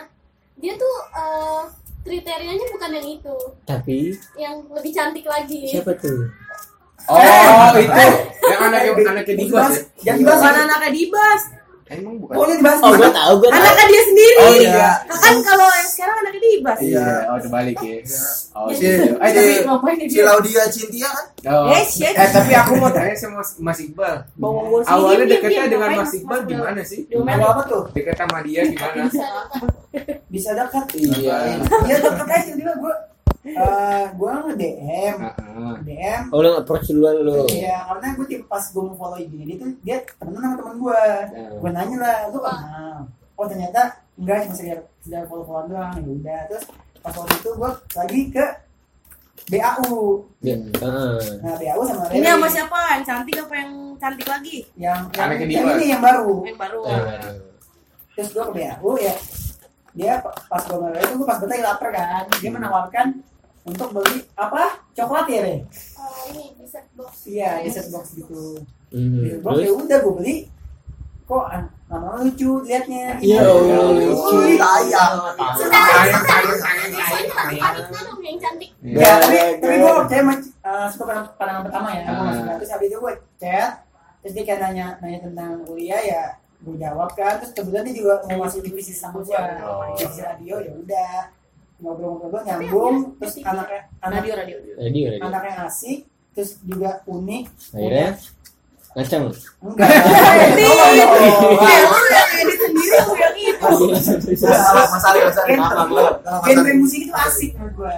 S4: dia tuh eh, kriterianya bukan yang itu
S5: Tapi
S4: yang lebih cantik lagi
S5: siapa tuh?
S2: Oh, itu. Yang anaknya anaknya di kelas.
S11: Jangan
S2: ya.
S11: dibahas.
S3: bukan anaknya dibas
S2: Emang bukan.
S11: Pokoknya dibahas.
S5: Oh gue tau gue tau
S3: anaknya dia sendiri
S6: Oh, iya.
S3: kan kalau yang sekarang anaknya dibas
S6: Iya.
S2: oh terbalik ya. Oh,
S6: Si-
S2: gitu. Eh,
S6: si-
S2: tapi
S3: ngapain
S6: si Laudia Cintia kan
S2: Oh.
S3: Yes, yes.
S2: Eh, tapi aku mau tanya sama Mas- Mas Iqbal.
S3: bawa bawa
S2: Awalnya deketnya dengan Mas Iqbal gimana sih?
S11: Ada apa tuh?
S2: Deket sama dia gimana?
S4: bisa dapat
S11: Bisa dekat.
S2: Iya.
S11: Ya dekat aja tiba gue. Eh, gue nge-DM,
S2: Heeh.
S11: DM
S5: Oh lu approach duluan lu
S11: Iya, karena gue tipe pas gue mau follow IG dia tuh dia temen sama temen gue. Gue nanya lah, lu kenal? Oh ternyata enggak cuma sekedar sekedar follow followan doang. Ya udah, terus pas waktu itu gue lagi ke BAU.
S5: Iya Heeh.
S11: Nah BAU sama
S3: ini
S11: Rere.
S3: sama siapa yang cantik apa yang cantik lagi
S11: Yang yang,
S2: Anaknya di
S11: yang
S2: luar.
S11: ini yang baru.
S3: yang baru
S2: Iya.
S5: Heeh.
S11: Terus gue ke BAU ya. Dia pa- pas gue mulai itu gue pas betul lagi lapar kan. Dia menawarkan untuk beli apa? Coklat ya, Re?
S4: eh, ini bisa box
S11: Iya, di set box gitu.
S5: Hmm,
S11: Di set box ya
S5: Terus
S11: udah gue beli. Kok ah, lama-lama lucu liatnya.
S5: Iya Allah, lucu
S6: Cuy, tayang
S4: Aditna dong yang cantik
S2: Iya.
S11: Ya, tapi, tapi gue percaya sama eh, suka pandangan, pandangan pertama ya. Gua
S2: Ah.
S11: masuk Terus habis itu gue chat, terus dia kayak nanya, nanya tentang kuliah ya, gue jawab kan. Terus kebetulan dia juga mau masuk divisi sama gue,
S2: Oh.
S11: divisi radio ya udah ngobrol-ngobrol nyambung. Terus anaknya anak
S3: radio radio
S5: Ready ready
S11: anaknya asik, terus juga unik.
S5: Akhirnya Ngaceng
S11: Enggak. Oh,
S3: Edit. Eh, Iya, lu yang edit sendiri lu yang itu
S6: Mas Ali Mas Ali
S11: Kenapa,
S6: Kenapa,
S11: Genre
S6: Mas Ali?
S11: musik itu asik menurut gue.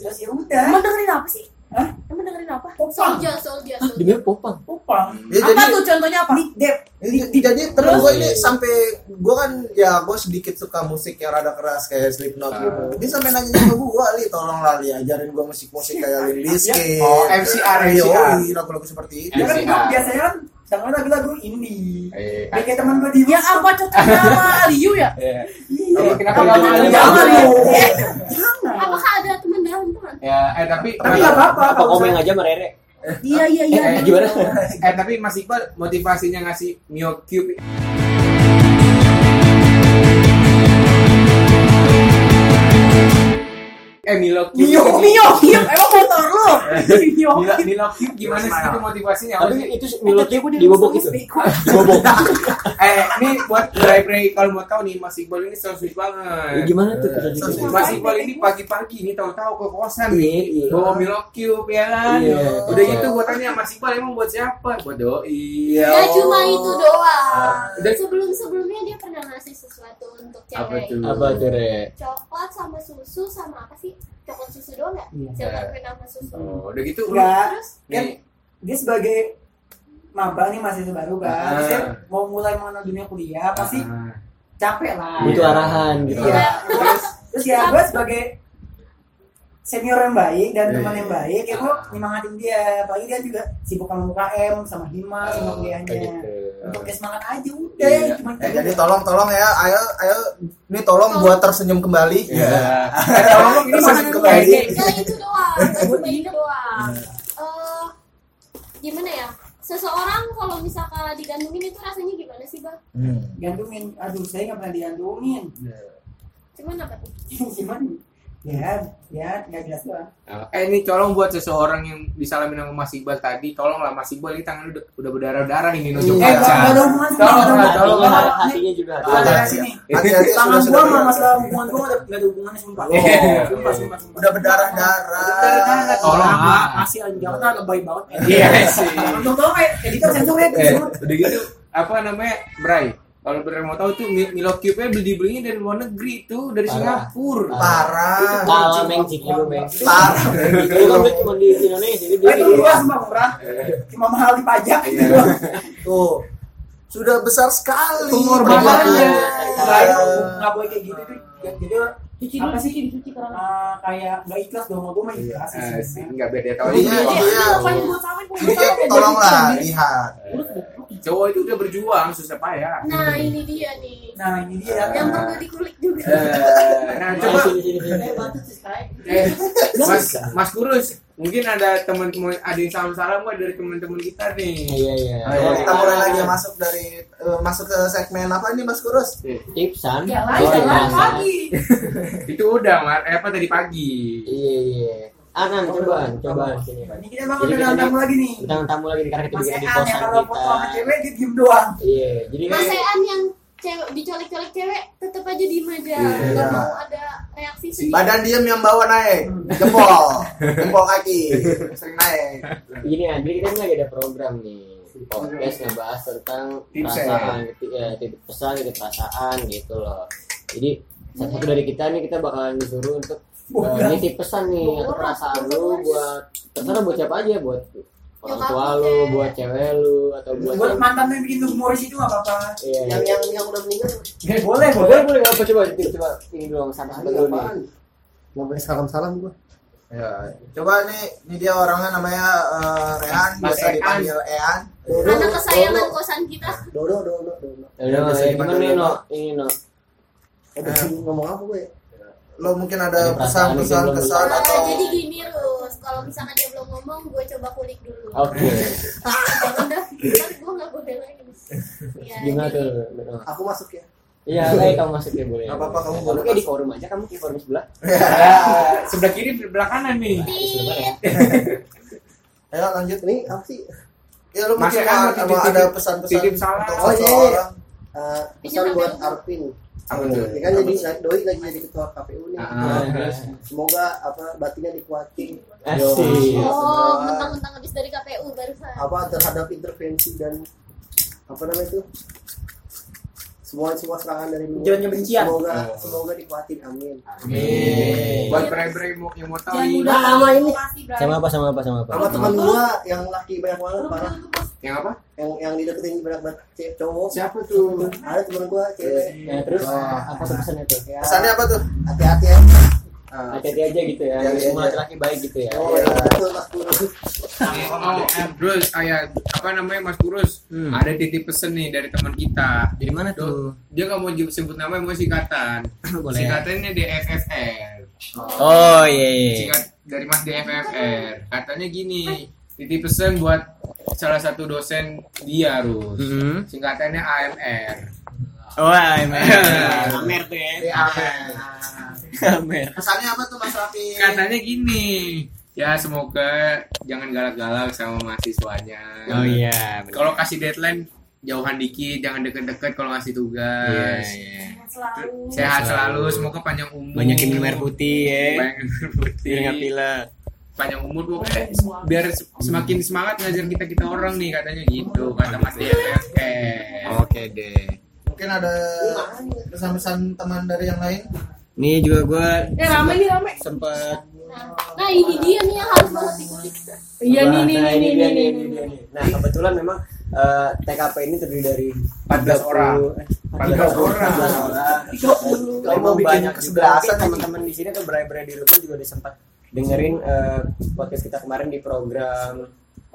S11: Terus ya udah.
S3: emang dengerin apa sih
S11: Hah?
S3: emang dengerin apa
S11: Popang,
S4: soldier soldier soldier
S5: Demi popang
S11: popang.
S6: Ya,
S3: apa
S6: jadi
S3: tuh contohnya apa
S11: Nick Depp.
S6: Jadi- jadi terus gue ini
S5: Terus?
S6: sampai gue kan ya gue sedikit suka musik yang rada keras kayak Slipknot gitu.
S1: Ah.
S6: Dia sampai nanya sama gue, "Li, tolong lah Li, ajarin gue
S3: Iya.
S6: musik-musik kayak Limp Bizkit."
S1: Ya.
S6: Iya,
S2: Oh, MCR, MCR.
S6: Yoi, lagu-lagu seperti itu.
S11: Ya kan gue
S2: MCR.
S11: biasanya kan dengerin lagu-lagu indie.
S2: Eh,
S11: Ya kayak Iya. teman gue di
S3: yang apa contohnya sama Liu ya
S2: Tapi kenapa kamu
S5: Jangan,
S2: ada
S11: jangan,
S2: jawaban?
S4: apakah ada teman dalam teman
S2: Ya, eh tapi
S11: Tapi nggak apa-apa.
S5: Apa
S11: kalau
S5: komen
S11: misalnya-
S5: aja sama Rere
S3: iya iya iya
S5: Eh, Gimana?
S2: eh tapi Mas Iqbal motivasinya ngasih Mio Cube Eh Milo Cube
S3: Mio Mio Mio emang motor lu Mio
S2: Milo, Milo Cube gimana sih itu motivasinya? Apa
S5: Tapi
S2: sih?
S5: itu Milo Cube dibobok itu Dibobok
S2: Eh ini buat Bray-Bray kalau mau tahu nih Mas Iqbal ini so sweet
S5: Eh,
S2: banget
S5: Gimana tuh
S6: Eh,
S5: kita bikin?
S2: Mas Iqbal ini pagi-pagi ini tahu-tahu ke kosan nih
S5: Iya, iya.
S2: bawa Milo Cube ya kan
S5: Iya.
S2: udah gitu gua tanya Mas Iqbal emang buat siapa buat doi Oh.
S4: ya cuma itu doang
S2: Ah, dan-
S4: sebelum sebelumnya dia pernah ngasih sesuatu untuk
S2: apa
S4: cewek
S2: tuh
S5: Apa tuh Rere?
S4: coklat sama susu sama apa sih coklat susu doang nggak coklat krim sama susu
S2: oh, udah gitu lu
S11: Enggak.
S4: terus
S11: Ya, Kan
S2: nih
S11: dia sebagai maba nih masih baru kan. Terus dia mau mulai mengenal dunia kuliah pasti
S2: ah,
S11: capek
S1: Iya.
S11: lah.
S5: Butuh arahan gitu
S11: Iya.
S2: terus
S11: Terus ya gue sebagai senior yang baik dan
S2: Iya.
S11: teman yang baik, ya gue nyemangatin dia. Apalagi dia juga sibuk sama UKM, sama Hima, sama
S2: Oh,
S11: kuliahnya.
S5: gitu.
S11: Untuk dia semangat aja udah.
S2: Iya.
S11: Cuma
S6: Eh, jadi tolong tolong ya, ayo ayo ini tolong buat tersenyum kembali.
S1: Iya.
S6: Iya.
S2: ya kalau
S6: Ini masih kembali.
S4: ya itu doang cuma itu doang Eh, gimana ya seseorang kalau misalkan digantungin itu rasanya gimana sih bang
S11: gantungin. Aduh, saya nggak pernah digantungin.
S4: cuman apa tuh
S11: Cuman
S1: ya ya nggak jelas doang
S2: Nah, eh ini colong buat seseorang yang disalamin sama Mas Iqbal tadi, tolonglah Mas Iqbal ini tangan lu udah, udah berdarah-darah ini nunjuk
S11: Iya.
S1: eh nggak nggak ada
S2: kaca.
S1: hubungan
S2: Tolonglah,
S1: nggak ada
S2: tolong
S1: hubungan.
S5: hatinya juga
S1: Nggak ada
S6: Ada.
S1: sini
S6: Hati-hati
S1: tangan
S6: sudah sudah
S1: gua
S6: Oh.
S1: sama
S6: berdarah.
S1: masalah hubungan gua nggak ada- nggak ada hubungannya sumpah
S2: Iya.
S1: sumpah sumpah sumpah.
S6: Udah berdarah-darah.
S1: Berdarah-darah.
S2: Tolong, ah.
S1: kasih anjing jangan ada baik banget
S2: Iya sih.
S1: Untung tau kayak editor sensor ya
S2: Eh, udah gitu apa namanya? Bray. Kalau bener mau tahu tuh Mi- Milo Cube-nya beli-belinya dari luar negeri tuh, dari
S5: Parah.
S2: Singapura.
S6: Parah.
S5: Kalau mengcik lu meng.
S6: Parah.
S5: Itu kan cuma di Indonesia. jadi
S1: Eh, itu
S5: di-
S1: gua sumpah murah cuma mahal di pajak
S6: Tuh. Sudah besar sekali. Iya.
S2: Pengorbanannya.
S1: Nah, itu nggak boleh kayak gitu tuh jadi
S3: Cuci
S1: Apa
S3: dulu,
S1: sih?
S3: cuci, dicuci karena.
S1: eh, kayak nggak ikhlas dong gue mah ikhlas sih
S2: Eh, sih,
S1: sebenarnya.
S2: enggak biar dia tahu
S6: Iya,
S2: aja.
S6: iya.
S3: Pokoknya buat samin, buat
S6: Jadi, ya,
S3: samin.
S6: tolonglah lihat.
S2: Cowok itu udah berjuang susah payah.
S4: Nah, ini dia nih.
S1: nah ini
S11: Iya,
S1: dia
S4: Yang perlu dikulik juga.
S2: Eh, nah coba
S5: Sini, sini, sini.
S2: eh, Mas Mas Kurus, mungkin ada teman-teman ada yang salam-salam nggak dari teman-teman kita nih?
S5: Iya, iya.
S6: Ayo, kita mulai lagi ya, masuk dari eh, masuk ke segmen apa ini Mas Kurus?
S5: Tipsan.
S3: Jalan,
S5: Oh,
S3: jalan
S5: tipsan.
S3: Ya, lagi.
S2: Itu udah, Mar. Eh, apa tadi pagi?
S5: Iya, iya. Anan, cobaan, cobaan sini.
S1: ini kita bakal kedalam tamu lagi nih
S5: Kita tamu lagi nih, karena kita
S1: Mas
S5: bikin
S1: Ean
S5: di
S1: ya
S5: kosan
S1: kalau foto sama
S5: Nah, kita.
S1: cewek dia diem doang
S5: Iya, jadi
S4: Mas Ean yang cewek dicolek-colek cewek tetap aja diem aja.
S5: Iya.
S4: Gak mau ada reaksi sedikit.
S6: Badan diem yang bawa naik, jempol, jempol kaki, sering naik.
S5: Gini Andri kita ini lagi ada program nih podcast ngebahas tentang
S6: Tips ya.
S5: perasaan, gitu, ya, titik pesan, titik perasaan gitu loh. Jadi satu, satu dari kita nih kita bakalan disuruh untuk eh,
S1: Bodoh.
S5: nitip pesan nih atau perasaan lu buat terserah buat siapa aja buat orang
S4: Nyokap
S5: tua
S4: lu,
S5: lu,
S4: Teh.
S5: buat cewek lu atau buat
S1: buat mantan yang bikin lu humoris itu nggak apa-apa
S5: Iya,
S7: yang yang yang udah meninggal
S5: iya. boleh boleh boleh apa coba coba, coba ini doang sama sama dulu nih.
S7: nggak boleh salam salam gua
S6: Ya, coba nih, ini dia orangnya namanya eh, Rehan,
S2: Mas
S6: biasa
S2: Ean.
S6: dipanggil Ean.
S4: Anak kesayangan kosan kita.
S7: dodo dodo dodo
S6: Yang
S5: Ya, no,
S6: biasa
S5: ya,
S6: dipakai
S5: gimana nih
S6: dulu.
S5: no? Ini no.
S7: udah sih ngomong apa gue
S6: Lo mungkin ada
S5: Ada perasaan
S6: pesan-pesan
S5: mungkin belum
S6: kesan
S4: Ah,
S6: atau
S4: jadi gini Rus, kalau misalkan dia belum ngomong, gue coba kulik dulu.
S5: Oke.
S4: Jangan dah, ntar gue nggak boleh lagi.
S7: Iya,
S4: Ya,
S5: Gimana
S4: jadi-
S5: tuh? No?
S7: aku masuk ya
S5: Iya, baik kamu masuk ya boleh.
S6: Nggak apa-apa, kamu boleh
S5: kayak di forum aja, kamu di forum sebelah.
S2: Eh, sebelah kiri, sebelah kanan nih.
S4: Iya. Tit.
S6: Ayo lanjut nih,
S7: ini apa sih
S6: ya lo
S2: Mas
S6: mungkin
S2: Ean,
S6: ada,
S2: titip-
S6: ada
S2: titip-
S6: pesan-pesan
S2: titip salam.
S6: untuk
S7: Oh, iya, iya.
S6: seseorang.
S7: Eh,
S4: Pinjam
S7: pesan buat
S4: HP.
S7: Arvin
S2: Apa
S6: Iya,
S2: tuh?
S7: ya kan jadi doi lagi jadi ketua KPU nih
S2: Ah,
S5: Nah, terus.
S7: semoga apa batinnya dikuatin
S5: Asik.
S4: Oh, mentang-mentang habis dari KPU barusan.
S7: apa terhadap intervensi dan apa namanya itu semua semua serangan dari luar.
S1: Ujaran kebencian.
S7: semoga semoga dikuatin amin
S5: Ah.
S2: Amin. Buat Bray-Bray mau- yang mau tahu
S3: Jangan
S2: nih.
S3: mudah
S7: Nah, sama ini.
S3: kasih, Bray.
S5: Sama apa sama apa sama apa?
S7: sama teman gua yang laki banyak banget
S3: Lu
S7: parah
S3: betul, Bos.
S2: Yang apa?
S7: yang yang dideketin banyak banget cewek cowok
S2: Siapa tuh?
S7: ada teman gua cewek
S5: Ya, terus apa tuh pesannya tuh?
S7: ya,
S6: Pesannya apa tuh?
S7: hati-hati ya
S2: Eh,
S6: Ah,
S5: Hati-hati aja gitu ya.
S6: Iya, iya,
S5: Semua
S6: iya.
S5: laki-laki baik gitu ya.
S7: oh ya betul mas Guru.
S2: Oh, eh, terus ayah apa namanya Mas Kurus?
S5: Hmm.
S2: Ada titip pesen nih dari teman kita.
S5: Dari mana
S2: tuh? Dia nggak mau sebut nama, mau singkatan. Singkatannya DFFR.
S5: Oh iya iya.
S2: singkat dari Mas DFFR katanya gini titip pesan buat salah satu dosen dia harus
S5: Mm-hmm.
S2: singkatannya AMR
S7: Oh,
S5: Wah,
S7: iya,
S2: Amer
S5: tuh ya.
S6: Amin.
S5: Amer.
S6: Pesannya apa tuh Mas Raffi?
S2: katanya gini ya semoga jangan galak-galak sama mahasiswanya
S5: Oh iya.
S2: kalau kasih deadline jauhan dikit jangan deket-deket kalau ngasih
S5: Iya,
S2: tugas
S3: Selalu.
S2: sehat selalu
S5: Selalu.
S2: semoga panjang umur
S5: Banyakin
S7: Hmm.
S5: minum air putih ya.
S2: Banyakin minum air putih.
S5: Biar nggak pilek.
S2: panjang umur pokoknya biar se- semakin semangat ngajar kita kita orang nih katanya gitu kata Mas DFFR
S5: Oke deh.
S6: Mungkin ada pesan-pesan teman dari yang lain?
S5: Nih juga gua
S3: Ya rame nih rame.
S5: sempat
S4: Nah, nah, ini dia nih yang harus banget dikulik.
S3: Iya nih nih
S5: Nah,
S3: nih
S5: ini
S3: nih
S5: dia,
S3: nih,
S5: nih,
S3: nih,
S5: ini dia,
S3: nih.
S5: nih. Nah, kebetulan memang eh, TKP ini terdiri dari
S2: 14 orang. 14 orang.
S5: 14 orang. Dan
S6: Kalau mau
S5: memang
S6: bikin
S5: banyak
S6: kesebelasan
S5: kesebelasan teman-teman di sini tuh berai-berai di rumah juga udah sempat dengerin eh, podcast kita kemarin di program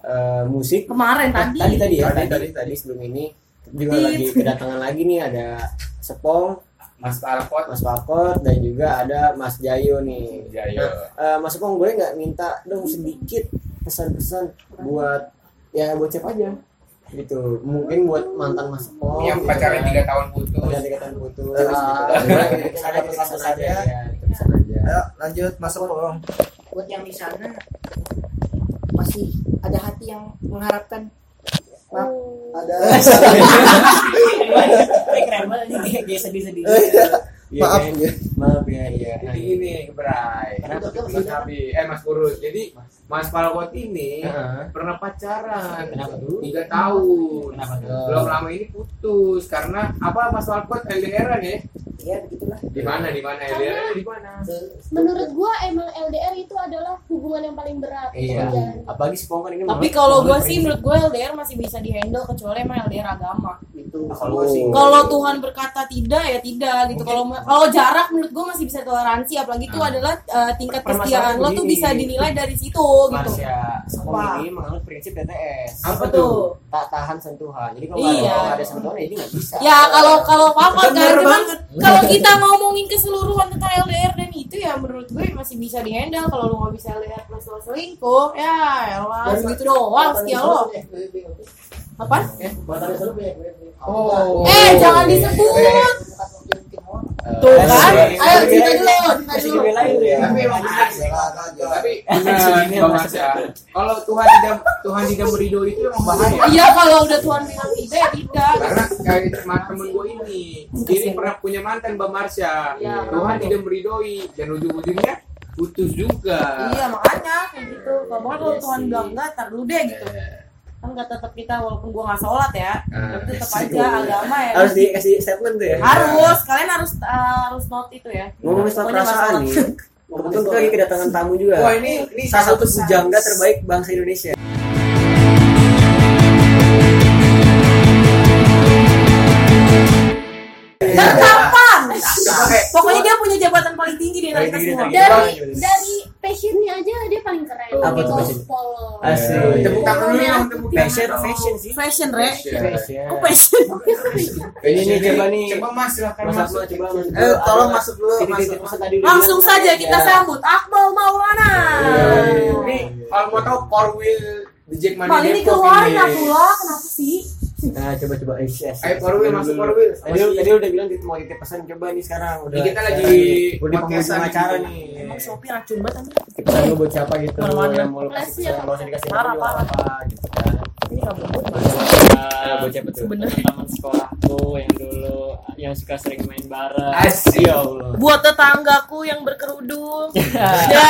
S5: eh, musik
S3: Kemarin tadi.
S5: tadi tadi ya
S6: Tadi,
S5: tadi
S6: tadi,
S5: tadi, sebelum ini juga lagi kedatangan lagi nih ada Sepong,
S2: Mas Tarpot
S5: Mas Pakot dan juga ada Mas Jayo nih.
S2: Jayo.
S5: Nah, eh, Mas Sepong boleh nggak minta dong sedikit pesan-pesan buat ya buat siapa aja gitu mungkin buat mantan Mas Sepong
S2: yang
S5: gitu
S2: pacaran
S5: kan.
S2: tiga tahun putus
S5: pacaran tiga tahun putus
S6: Ah,
S5: gitu. Boleh, ada pesan-pesan gitu. aja,
S6: aja.
S5: ya, pesan aja.
S6: Ayo lanjut masuk dong.
S12: buat yang di sana masih ada hati yang mengharapkan
S4: Nah,
S12: Maaf,
S6: Ada.
S1: keren banget ini kayak- kayak sedih-sedih.
S2: Iya,
S6: Maaf
S2: kan?
S6: ya.
S5: Maaf ya, iya.
S2: Jadi gini, Bray.
S12: Udah, udah,
S2: Mas Abi, eh Mas Purus. Jadi Mas Palkot ini
S5: Heeh.
S2: pernah pacaran
S5: Kenapa tuh?
S2: tiga tahun.
S5: Kenapa tuh?
S2: Belum lama ini putus karena apa Mas Palkot LDR-an ya?
S12: ya begitulah
S2: Di mana? Di mana
S4: Karena-
S2: LDR? Di mana?
S4: menurut gua emang LDR itu adalah hubungan yang paling berat
S5: Iya.
S4: Iya.
S5: Apalagi sepokan
S3: Tapi
S5: ini. malah-
S3: kalau gue
S5: malah
S3: sih
S5: ini.
S3: menurut gue LDR masih bisa dihandle kecuali emang LDR agama.
S12: itu
S5: Kalau sih.
S3: Kalau Tuhan berkata tidak ya tidak gitu. Kalau kalau jarak menurut gue masih bisa toleransi apalagi itu adalah eh, tingkat kesetiaan lo tuh
S5: begini.
S3: bisa dinilai dari situ gitu.
S5: Marsha, sekolah
S12: Apa?
S5: ini menganut prinsip TTS.
S2: Apa tuh?
S5: Tak tahan sentuhan. Jadi kalau
S3: Iya.
S5: nggak ada sentuhan ya ini nggak bisa.
S3: Ya kalau kalau apa kan
S1: Bener
S3: cuman
S1: banget.
S3: kalau kita ngomongin keseluruhan tentang LDR dan itu ya menurut gue masih bisa dihandle kalau lo nggak bisa LDR plus lo selingkuh ya elah gitu doang setia lo apa?
S2: Oh.
S3: Eh jangan disebut Eh, tuh
S5: eh,
S3: kan? Ayo cerita dulu cerita dulu.
S5: ya.
S2: Tapi emang benar
S5: Iya,
S2: sih. Tapi benar, Bang Arsya. Kalau Tuhan tidak Tuhan tidak meridoi itu emang bahaya.
S3: Iya kalau udah Tuhan bilang tidak ya tidak.
S2: karena kayak teman temen gue ini ini pernah punya mantan Mbak Marsha
S3: Iya.
S2: Tuhan tidak meridoi dan ujung-ujungnya putus juga
S3: Iya makanya kayak gitu. Kalau banget kalau Tuhan bilang enggak, tar dulu deh gitu. Kan nggak tetap kita walaupun gua nggak sholat ya,
S2: Ah.
S3: tapi tetap aja agama ya.
S5: harus dikasih statement tuh ya.
S3: Harus, kalian harus eh, harus note itu ya.
S5: Ngomongin soal
S3: Pokoknya
S5: perasaan
S3: masalah.
S5: nih. Kebetulan kita lagi kedatangan tamu juga.
S2: wah ini ini
S5: Salah satu pujangga terbaik bangsa Indonesia. iya,
S3: Tertampang. Iya, Pokoknya dia punya jabatan paling tinggi di antara kita semua.
S5: Paling tinggi,
S4: dari
S5: Gimana, gimana?
S4: dari passionnya aja dia paling keren
S5: Oh, Apa tuh
S4: Gitu,
S5: passion?
S4: follow
S5: Asli.
S2: tepuk tangan dulu ya.
S5: Iya,
S2: yang tepuk tangan
S5: Fashion,
S2: dong.
S5: fashion sih.
S3: Fashion, Re.
S5: Fashion.
S3: Kok fashion?
S5: Ini Iya. nih coba nih.
S2: coba mas silahkan
S5: Mas
S2: mas
S5: Akmal, coba masuk
S6: Eh,
S5: dulu.
S6: tolong masuk dulu,
S5: Titik-titik
S6: masuk,
S5: masa
S6: masuk.
S5: tadi udah
S3: Langsung
S5: bilang.
S3: saja kita
S5: Ya.
S3: sambut Akmal Maulana.
S5: Iya.
S2: ini kalau mau tahu core wheel the Jack Money
S3: Kali Iya. ini
S2: Depok
S3: keluarin
S2: ini.
S3: aku lah, kenapa sih?
S5: Nah, coba coba eh, yes, yes.
S2: Ayo, Korwil, masuk, Korwil.
S5: Tadi lu- tadi lu udah bilang mau titip pesan coba nih sekarang udah.
S2: Ini kita lagi
S5: udah di
S2: podcastan
S5: penghujung acara
S2: gitu.
S5: nih.
S3: Emang Shopee racun banget anjing.
S5: Titip pesan lu buat siapa gitu
S3: Warna-warna.
S5: yang mau lu kasih
S4: Rahasia.
S5: pesan, nggak usah dikasih
S3: Parah,
S5: nama
S3: parah.
S5: juga, apa gitu kan.
S3: Ini nggak bener.
S5: Eh, buat siapa tuh?
S3: Sebenarnya.
S11: teman sekolahku yang dulu yang suka sering main bareng.
S2: Asik.
S11: Ya Allah.
S3: Buat tetanggaku yang berkerudung.
S2: oh
S3: Ya.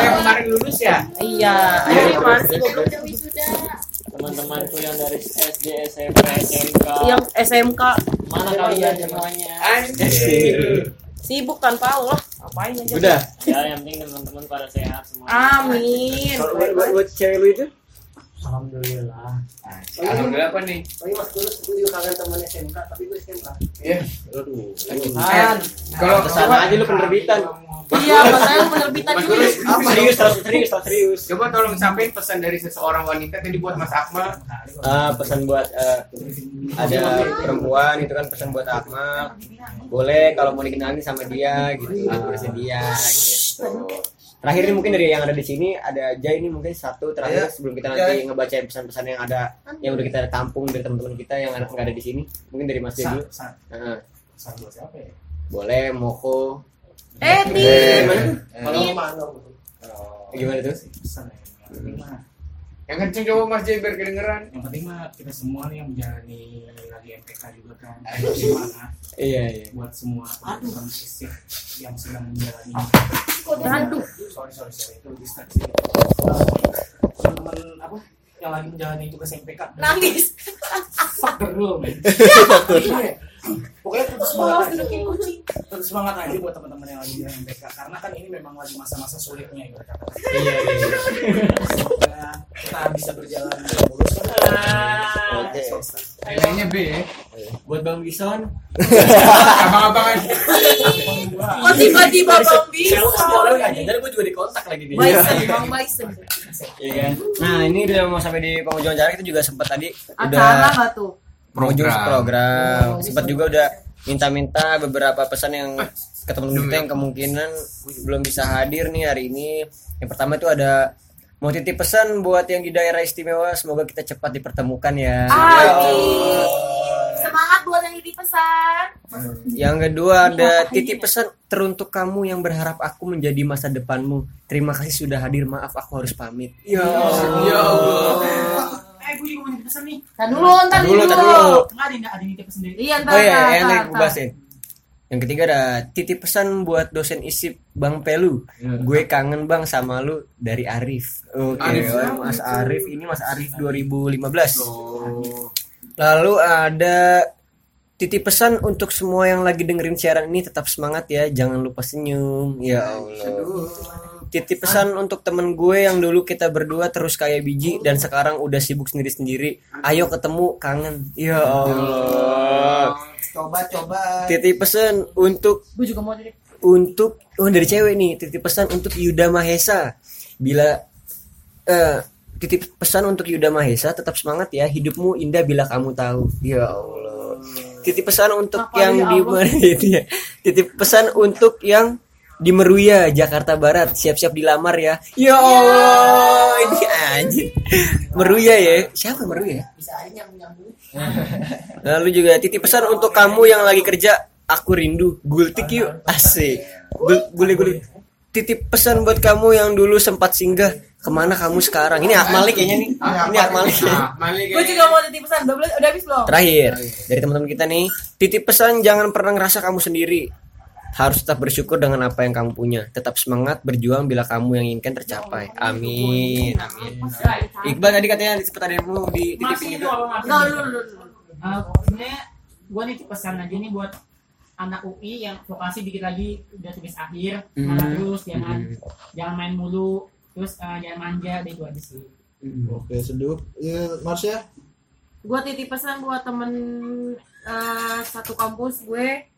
S2: yang kemarin lulus ya
S3: Iya.
S2: Ayo,
S3: Ini masih
S4: yang udah wisuda
S11: Teman-temanku yang dari SD, SMP, SMK.
S3: yang SMK
S11: Mana kalian semuanya?
S2: anjir
S3: sibuk tanpa Allah. Ngapain aja?
S5: Udah.
S11: Ya yang penting teman-teman pada sehat semua.
S5: Ah.
S3: Amin.
S5: Kalau buat buat- buat cewek lu itu?
S11: Alhamdulillah.
S2: alhamdulillah apa nih
S5: Tapi mas dulu gue juga kangen teman SMK, tapi gue SMK.
S2: Iya.
S5: Aduh.
S2: Eh, kalau
S5: Kesana aja lu penerbitan.
S3: Iya, makanya penerbitan
S2: Mas
S3: juga.
S2: Tulus, apa
S5: Serius, harus serius, harus serius.
S2: Coba tolong sampein pesan dari seseorang wanita tadi buat Mas Akmal.
S5: Ah, pesan buat eh, ada perempuan itu kan pesan buat Akmal boleh kalau mau dikenalin sama dia gitu aku bersedia gitu terakhir ini mungkin dari yang ada di sini ada aja ini mungkin satu terakhir
S6: Iya.
S5: sebelum kita nanti ngebacain pesan-pesan yang ada yang udah kita tampung dari teman-teman kita yang anak nggak ada di sini mungkin dari Mas Dedi Heeh.
S11: ya?
S5: boleh Moko
S3: Eh, Ti.
S5: Eh, mana tuh?
S4: Ini
S5: gimana tuh
S11: ya,
S2: Yang kenceng coba Mas Jai biar kedengeran.
S11: Yang penting mah kita semua nih yang menjalani lagi MPK juga kan.
S5: iya iya
S11: buat semua teman fisik yang sedang menjalani
S3: Aduh.
S11: sorry sorry sorry itu distraksi teman-teman apa yang lagi menjalani tugas MPK
S3: Nangis.
S11: fuck the rule man pokoknya tetap
S3: Oh,
S11: semangat aja
S3: sedukin kucing.
S11: tetap semangat aja buat teman-teman yang lagi menjalani MPK karena kan ini memang lagi masa-masa sulitnya ya kata
S5: iya iya
S11: semoga kita bisa berjalan dengan mulus Nah,
S5: Oke.
S2: Nilainya B ya.
S5: buat Bang Bison
S2: Abang-abangan.
S3: Kok tiba-tiba Bang Bisa?
S5: orang nggak nyadar gue juga dikontak lagi nih
S3: Bison, Bang Bison.
S5: Iya kan? Nah ini udah mau sampai di penghujung acara kita juga sempat tadi
S3: Acara
S5: udah
S3: nggak tuh?
S5: penghujung
S2: Program.
S5: program. Sempat juga udah minta-minta beberapa pesan yang ke teman kita yang kemungkinan belum bisa hadir nih hari ini. Yang pertama itu ada mau titip pesan buat
S3: Ah.
S5: yang di daerah istimewa semoga kita cepat dipertemukan ya.
S3: Amin.
S8: enak
S3: Semangat
S8: buat yang dipesan.
S5: Yang kedua ada titip pesan teruntuk kamu yang berharap aku menjadi masa depanmu. Terima kasih sudah hadir. Maaf aku harus pamit. Ya
S11: Eh, gue juga mau nitip pesan nih.
S8: Tahan dulu, ntar
S5: Tahan dulu, tahan dulu.
S11: Enggak ada, ada nitip pesan dari.
S8: Iya, ntar.
S5: Oh iya, yang
S8: ntar,
S5: tadi gue
S8: ntar.
S5: bahas ya. Yang ketiga ada titip pesan buat dosen isip Bang Pelu. Gue kangen bang sama lu dari Arif. Oke,
S2: Arif
S5: oh,
S2: siapa
S5: Mas
S2: itu?
S5: Arif ini Mas Arif 2015. Lalu ada titip pesan untuk semua yang lagi dengerin siaran ini tetap semangat ya, jangan lupa senyum. Ya Allah. Titip pesan untuk temen gue yang dulu kita berdua terus kayak biji dan sekarang udah sibuk sendiri-sendiri. Ayo ketemu, kangen. Ya Allah
S6: Coba coba.
S5: titip pesan untuk
S3: Gue juga mau jadi.
S5: untuk oh dari cewek nih titip pesan untuk Yuda Mahesa bila eh titip pesan untuk Yuda Mahesa tetap semangat ya hidupmu indah bila kamu tahu ya Allah titip pesan untuk
S3: Apa
S5: yang
S3: ya
S5: di itu ya. titip pesan untuk yang di Meruya Jakarta Barat siap-siap dilamar ya ya Allah ini anjing Meruya ya siapa Meruya Lalu juga titip pesan untuk kamu yang lagi kerja, aku rindu. Gultik yuk, asik. Gule gule. Titip pesan buat kamu yang dulu sempat singgah, kemana kamu sekarang? Ini Akmalik kayaknya nih.
S3: Ah,
S2: Iya,
S5: Ini Akmalik.
S2: Nah, Malik
S3: Gue juga mau titip pesan. Udah belum? Udah habis belum?
S5: Terakhir dari teman-teman kita nih, titip pesan jangan pernah ngerasa kamu sendiri. Harus tetap bersyukur dengan apa yang kamu punya. Tetap semangat berjuang bila kamu yang inginkan tercapai. Amin. Amin. Iqbal tadi katanya sempat ada yang mau dititipin
S11: Masih itu
S5: juga.
S11: apa masih?
S8: Nggak, dulu, dulu, dulu.
S11: Eh, sebenarnya gue nitip pesan aja nih buat anak UI yang vokasi dikit lagi udah tugas akhir, malah terus
S3: ya kan?
S11: jangan jangan main mulu, terus eh, jangan manja, deh itu aja sih.
S6: Oke, sedup. Ya, Marsha.
S3: Gue titip pesan buat temen eh, satu kampus gue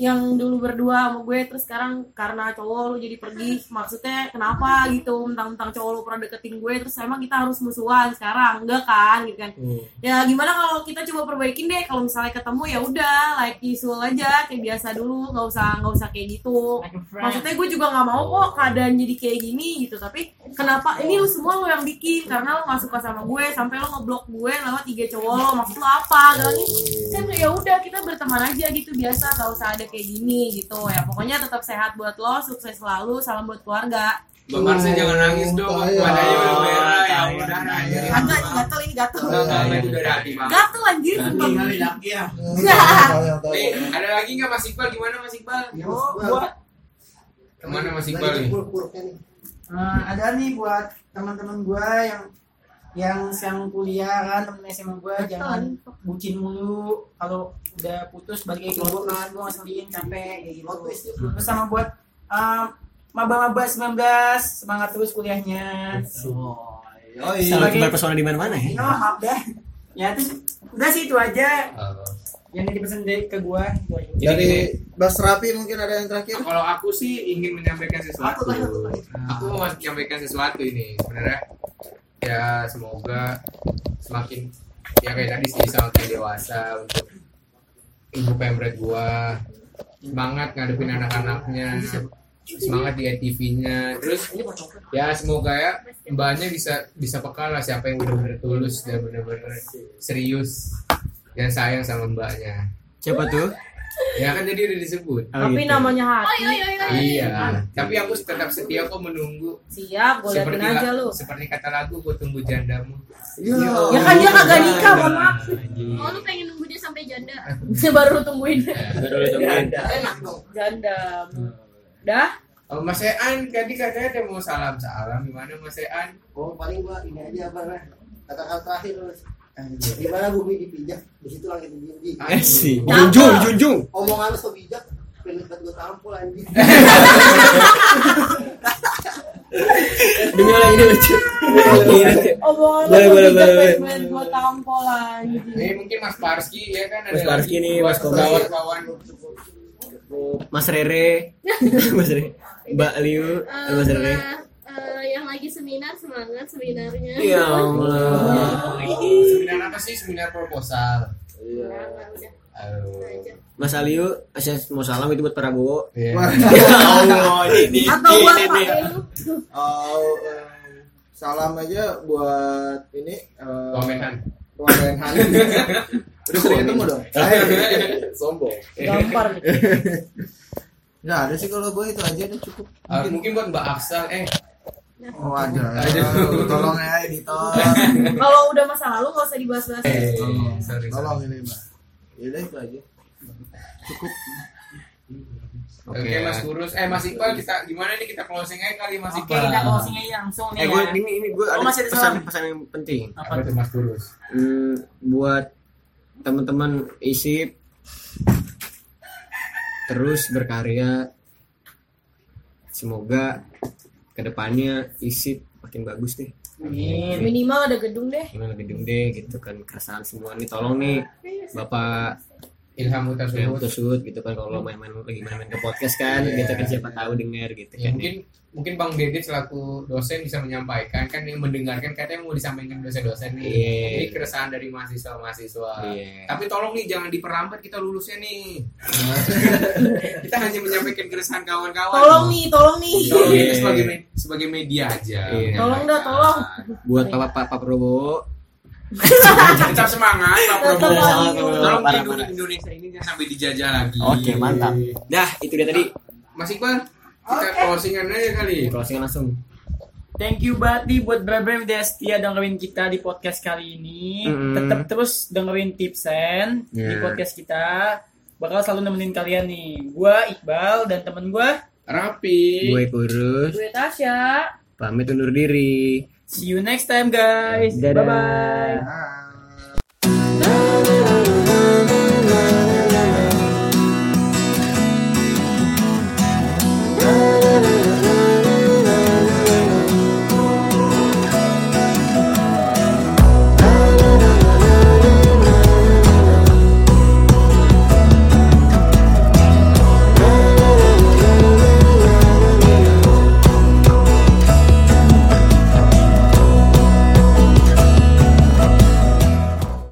S3: yang dulu berdua sama gue terus sekarang karena cowok lu jadi pergi maksudnya kenapa gitu mentang-mentang cowok lu pernah deketin gue terus emang kita harus musuhan sekarang enggak kan gitu kan ya gimana kalau kita coba perbaikin deh kalau misalnya ketemu ya udah like usual aja kayak biasa dulu nggak usah nggak usah kayak gitu
S11: Like a friend.
S3: maksudnya gue juga nggak mau kok keadaan jadi kayak gini gitu tapi kenapa ini lu semua lu yang bikin karena lu nggak suka sama gue sampai lu ngeblok gue lewat tiga cowok lo maksud lu apa Gak nih saya bilang, ya udah kita berteman aja gitu biasa nggak usah ada kayak gini gitu ya pokoknya tetap sehat buat lo sukses selalu salam buat keluarga
S2: Bang Marsha jangan nangis dong.
S3: Iya.
S6: Tayang.
S2: Padanya udah merah ya udah
S6: Tayang.
S2: nangis.
S3: agak ini gatel ini gatel
S2: Enggak enggak enggak juga ada hati Bang.
S3: gatel anjir
S2: Nih, ada lagi nggak Mas Iqbal? Gimana Mas Iqbal?
S3: Iya.
S2: Kemana Mas Iqbal nih?
S11: Eh, ada nih buat teman-teman gue yang yang sekarang kuliah kan temen SMA gue jangan bucin mulu kalau udah putus balik lagi ke kelompok kan gue ngeselin capek kayak gitu terus sama buat eh, maba-maba 19 semangat terus kuliahnya
S2: Oh
S5: Selalu
S2: iya.
S5: kembali pesona di mana-mana ya.
S11: ya maaf dah ya terus udah sih itu aja yang dipesan dari ke gue itu aja
S6: Dari Bas Rapi mungkin ada yang terakhir.
S2: Nah, Kalau aku sih ingin menyampaikan sesuatu. Iya. Aku mau menyampaikan sesuatu ini sebenarnya. Ya semoga semakin ya kayak tadi sih semakin dewasa untuk ibu pemret gua semangat ngadepin anak-anaknya semangat di TV-nya terus ya semoga ya mbaknya bisa bisa peka lah siapa yang benar-benar tulus dan benar-benar serius dan sayang sama mbaknya
S5: Siapa tuh?
S2: ya kan jadi udah disebut
S3: tapi namanya
S4: Oi, oi,
S3: hati
S4: oi, oi.
S2: Iya, tapi aku tetap setia kok menunggu.
S3: siap gue liatin
S2: la-
S3: aja lu
S2: seperti kata lagu, ku tunggu jandamu.
S3: ya kan dia kagak nikah mohon maaf
S4: Oh, lu pengen nunggu dia sampai janda.
S3: baru tungguin
S5: Iya.
S7: Iya.
S6: Enak dong.
S3: janda dah
S2: Oh, Mas Ean, tadi katanya ada mau salam salam. Gimana Mas Ean?
S12: Oh paling gua ini aja apa lah kata-kata terakhir Mas. di mana bumi dipijak di situ langit dijunjung
S5: Eh,
S2: Aduh.
S5: Junjung, junjung.
S12: omongan lu so bijak pengen buat gua tampol anjing
S5: Demi Allah ini lucu. Ini lucu.
S3: omongan
S5: Boleh,
S3: lu
S5: boleh,
S3: bijak
S5: boleh,
S3: pengen
S5: boleh.
S3: main gua tampol anjing
S2: Ini Eh, mungkin Mas Parski ya kan
S5: Mas Parski nih, Mas Kobi.
S2: kawan-kawan.
S5: Mas Rere, Mas Rere, Mbak Liu,
S4: Eh,
S5: Mas Rere.
S4: nah, eh, yang lagi seminar semangat seminarnya.
S5: Ya Allah.
S2: Seminar apa sih? Seminar proposal.
S5: Iya.
S4: Nah, nah, udah.
S2: Aduh.
S4: Lanjut.
S5: Mas Aliu, saya mau salam itu buat Prabowo.
S2: Iya.
S5: Ya Allah, ini
S3: atau
S5: ini,
S3: buat
S5: ini,
S3: Pak
S5: ini.
S3: Elu
S6: Oh, eh, salam aja buat ini eh
S2: Komenan.
S6: Wamen Han. Udah sering ketemu dong.
S2: Sombong.
S3: Gampar.
S6: Nah, ada sih kalau gue itu aja udah cukup.
S2: Ah, mungkin buat Mbak Afsal, eh.
S6: Oh, ada.
S2: Ada.
S6: Tolong ya editor.
S3: Kalau udah masa lalu nggak usah dibahas-bahas.
S2: Eh, sorry,
S6: Tolong
S2: sorry.
S6: ini, Mbak. Yaudah itu aja. Cukup.
S2: Oke, Mas Kurus. Eh, Mas Iqbal, kita gimana nih kita closing aja kali Mas
S13: Oke,
S2: Iqbal.
S13: kita closing aja langsung nih.
S5: Eh, gue ini ini gue
S13: Oh,
S5: ada
S13: masih ada
S5: pesan
S13: soal?
S5: pesan yang penting.
S13: Apa
S2: Apa tuh Mas Kurus?
S5: Hmm, buat teman-teman isip terus berkarya. Semoga kedepannya isip makin bagus deh. Amin.
S3: Minimal ada gedung deh.
S5: Gimana gedung deh gitu kan keresahan semua nih tolong nih Bapak
S2: Ilham Utasud.
S5: Ilham Utasud gitu kan kalau main-main lagi main-main ke podcast kan
S2: Iya.
S5: gitu kan siapa tahu denger gitu
S2: Ya,
S5: kan.
S2: mungkin mungkin Bang Dede selaku dosen bisa menyampaikan kan yang mendengarkan katanya mau disampaikan dosen-dosen nih.
S5: Iya.
S2: Ini keresahan dari mahasiswa-mahasiswa.
S5: Iya.
S2: Tapi tolong nih jangan diperlambat kita lulusnya nih. kita hanya menyampaikan keresahan kawan-kawan.
S3: Tolong nih, tolong nih.
S2: Tolong
S5: Iya.
S2: kita sebagai me- sebagai media aja.
S5: Iya.
S3: Tolong dah, tolong.
S5: Buat Bapak Pak, Pak Prabowo
S2: Tetap semangat Pak Prabowo.
S5: Tetap semangat.
S2: Tolong
S5: Parah,
S2: hidup
S5: parah.
S2: Indonesia ini jangan sampai dijajah lagi.
S5: Oke, mantap. Dah, itu dia tadi.
S2: Mas Iqbal, kita closingan aja kali.
S5: Closing langsung.
S1: Thank you banget nih buat Brebem udah setia dengerin kita di podcast kali ini.
S5: Mm-mm.
S1: Tetap terus dengerin tipsen di
S5: Yeah.
S1: podcast kita. Bakal selalu nemenin kalian nih. Gua Iqbal dan temen gua.
S2: Rapi.
S5: Gue kurus,
S3: Gue Tasya.
S5: pamit undur diri.
S1: See you next time guys. Bye
S5: Dadah.
S1: bye.
S6: Nah.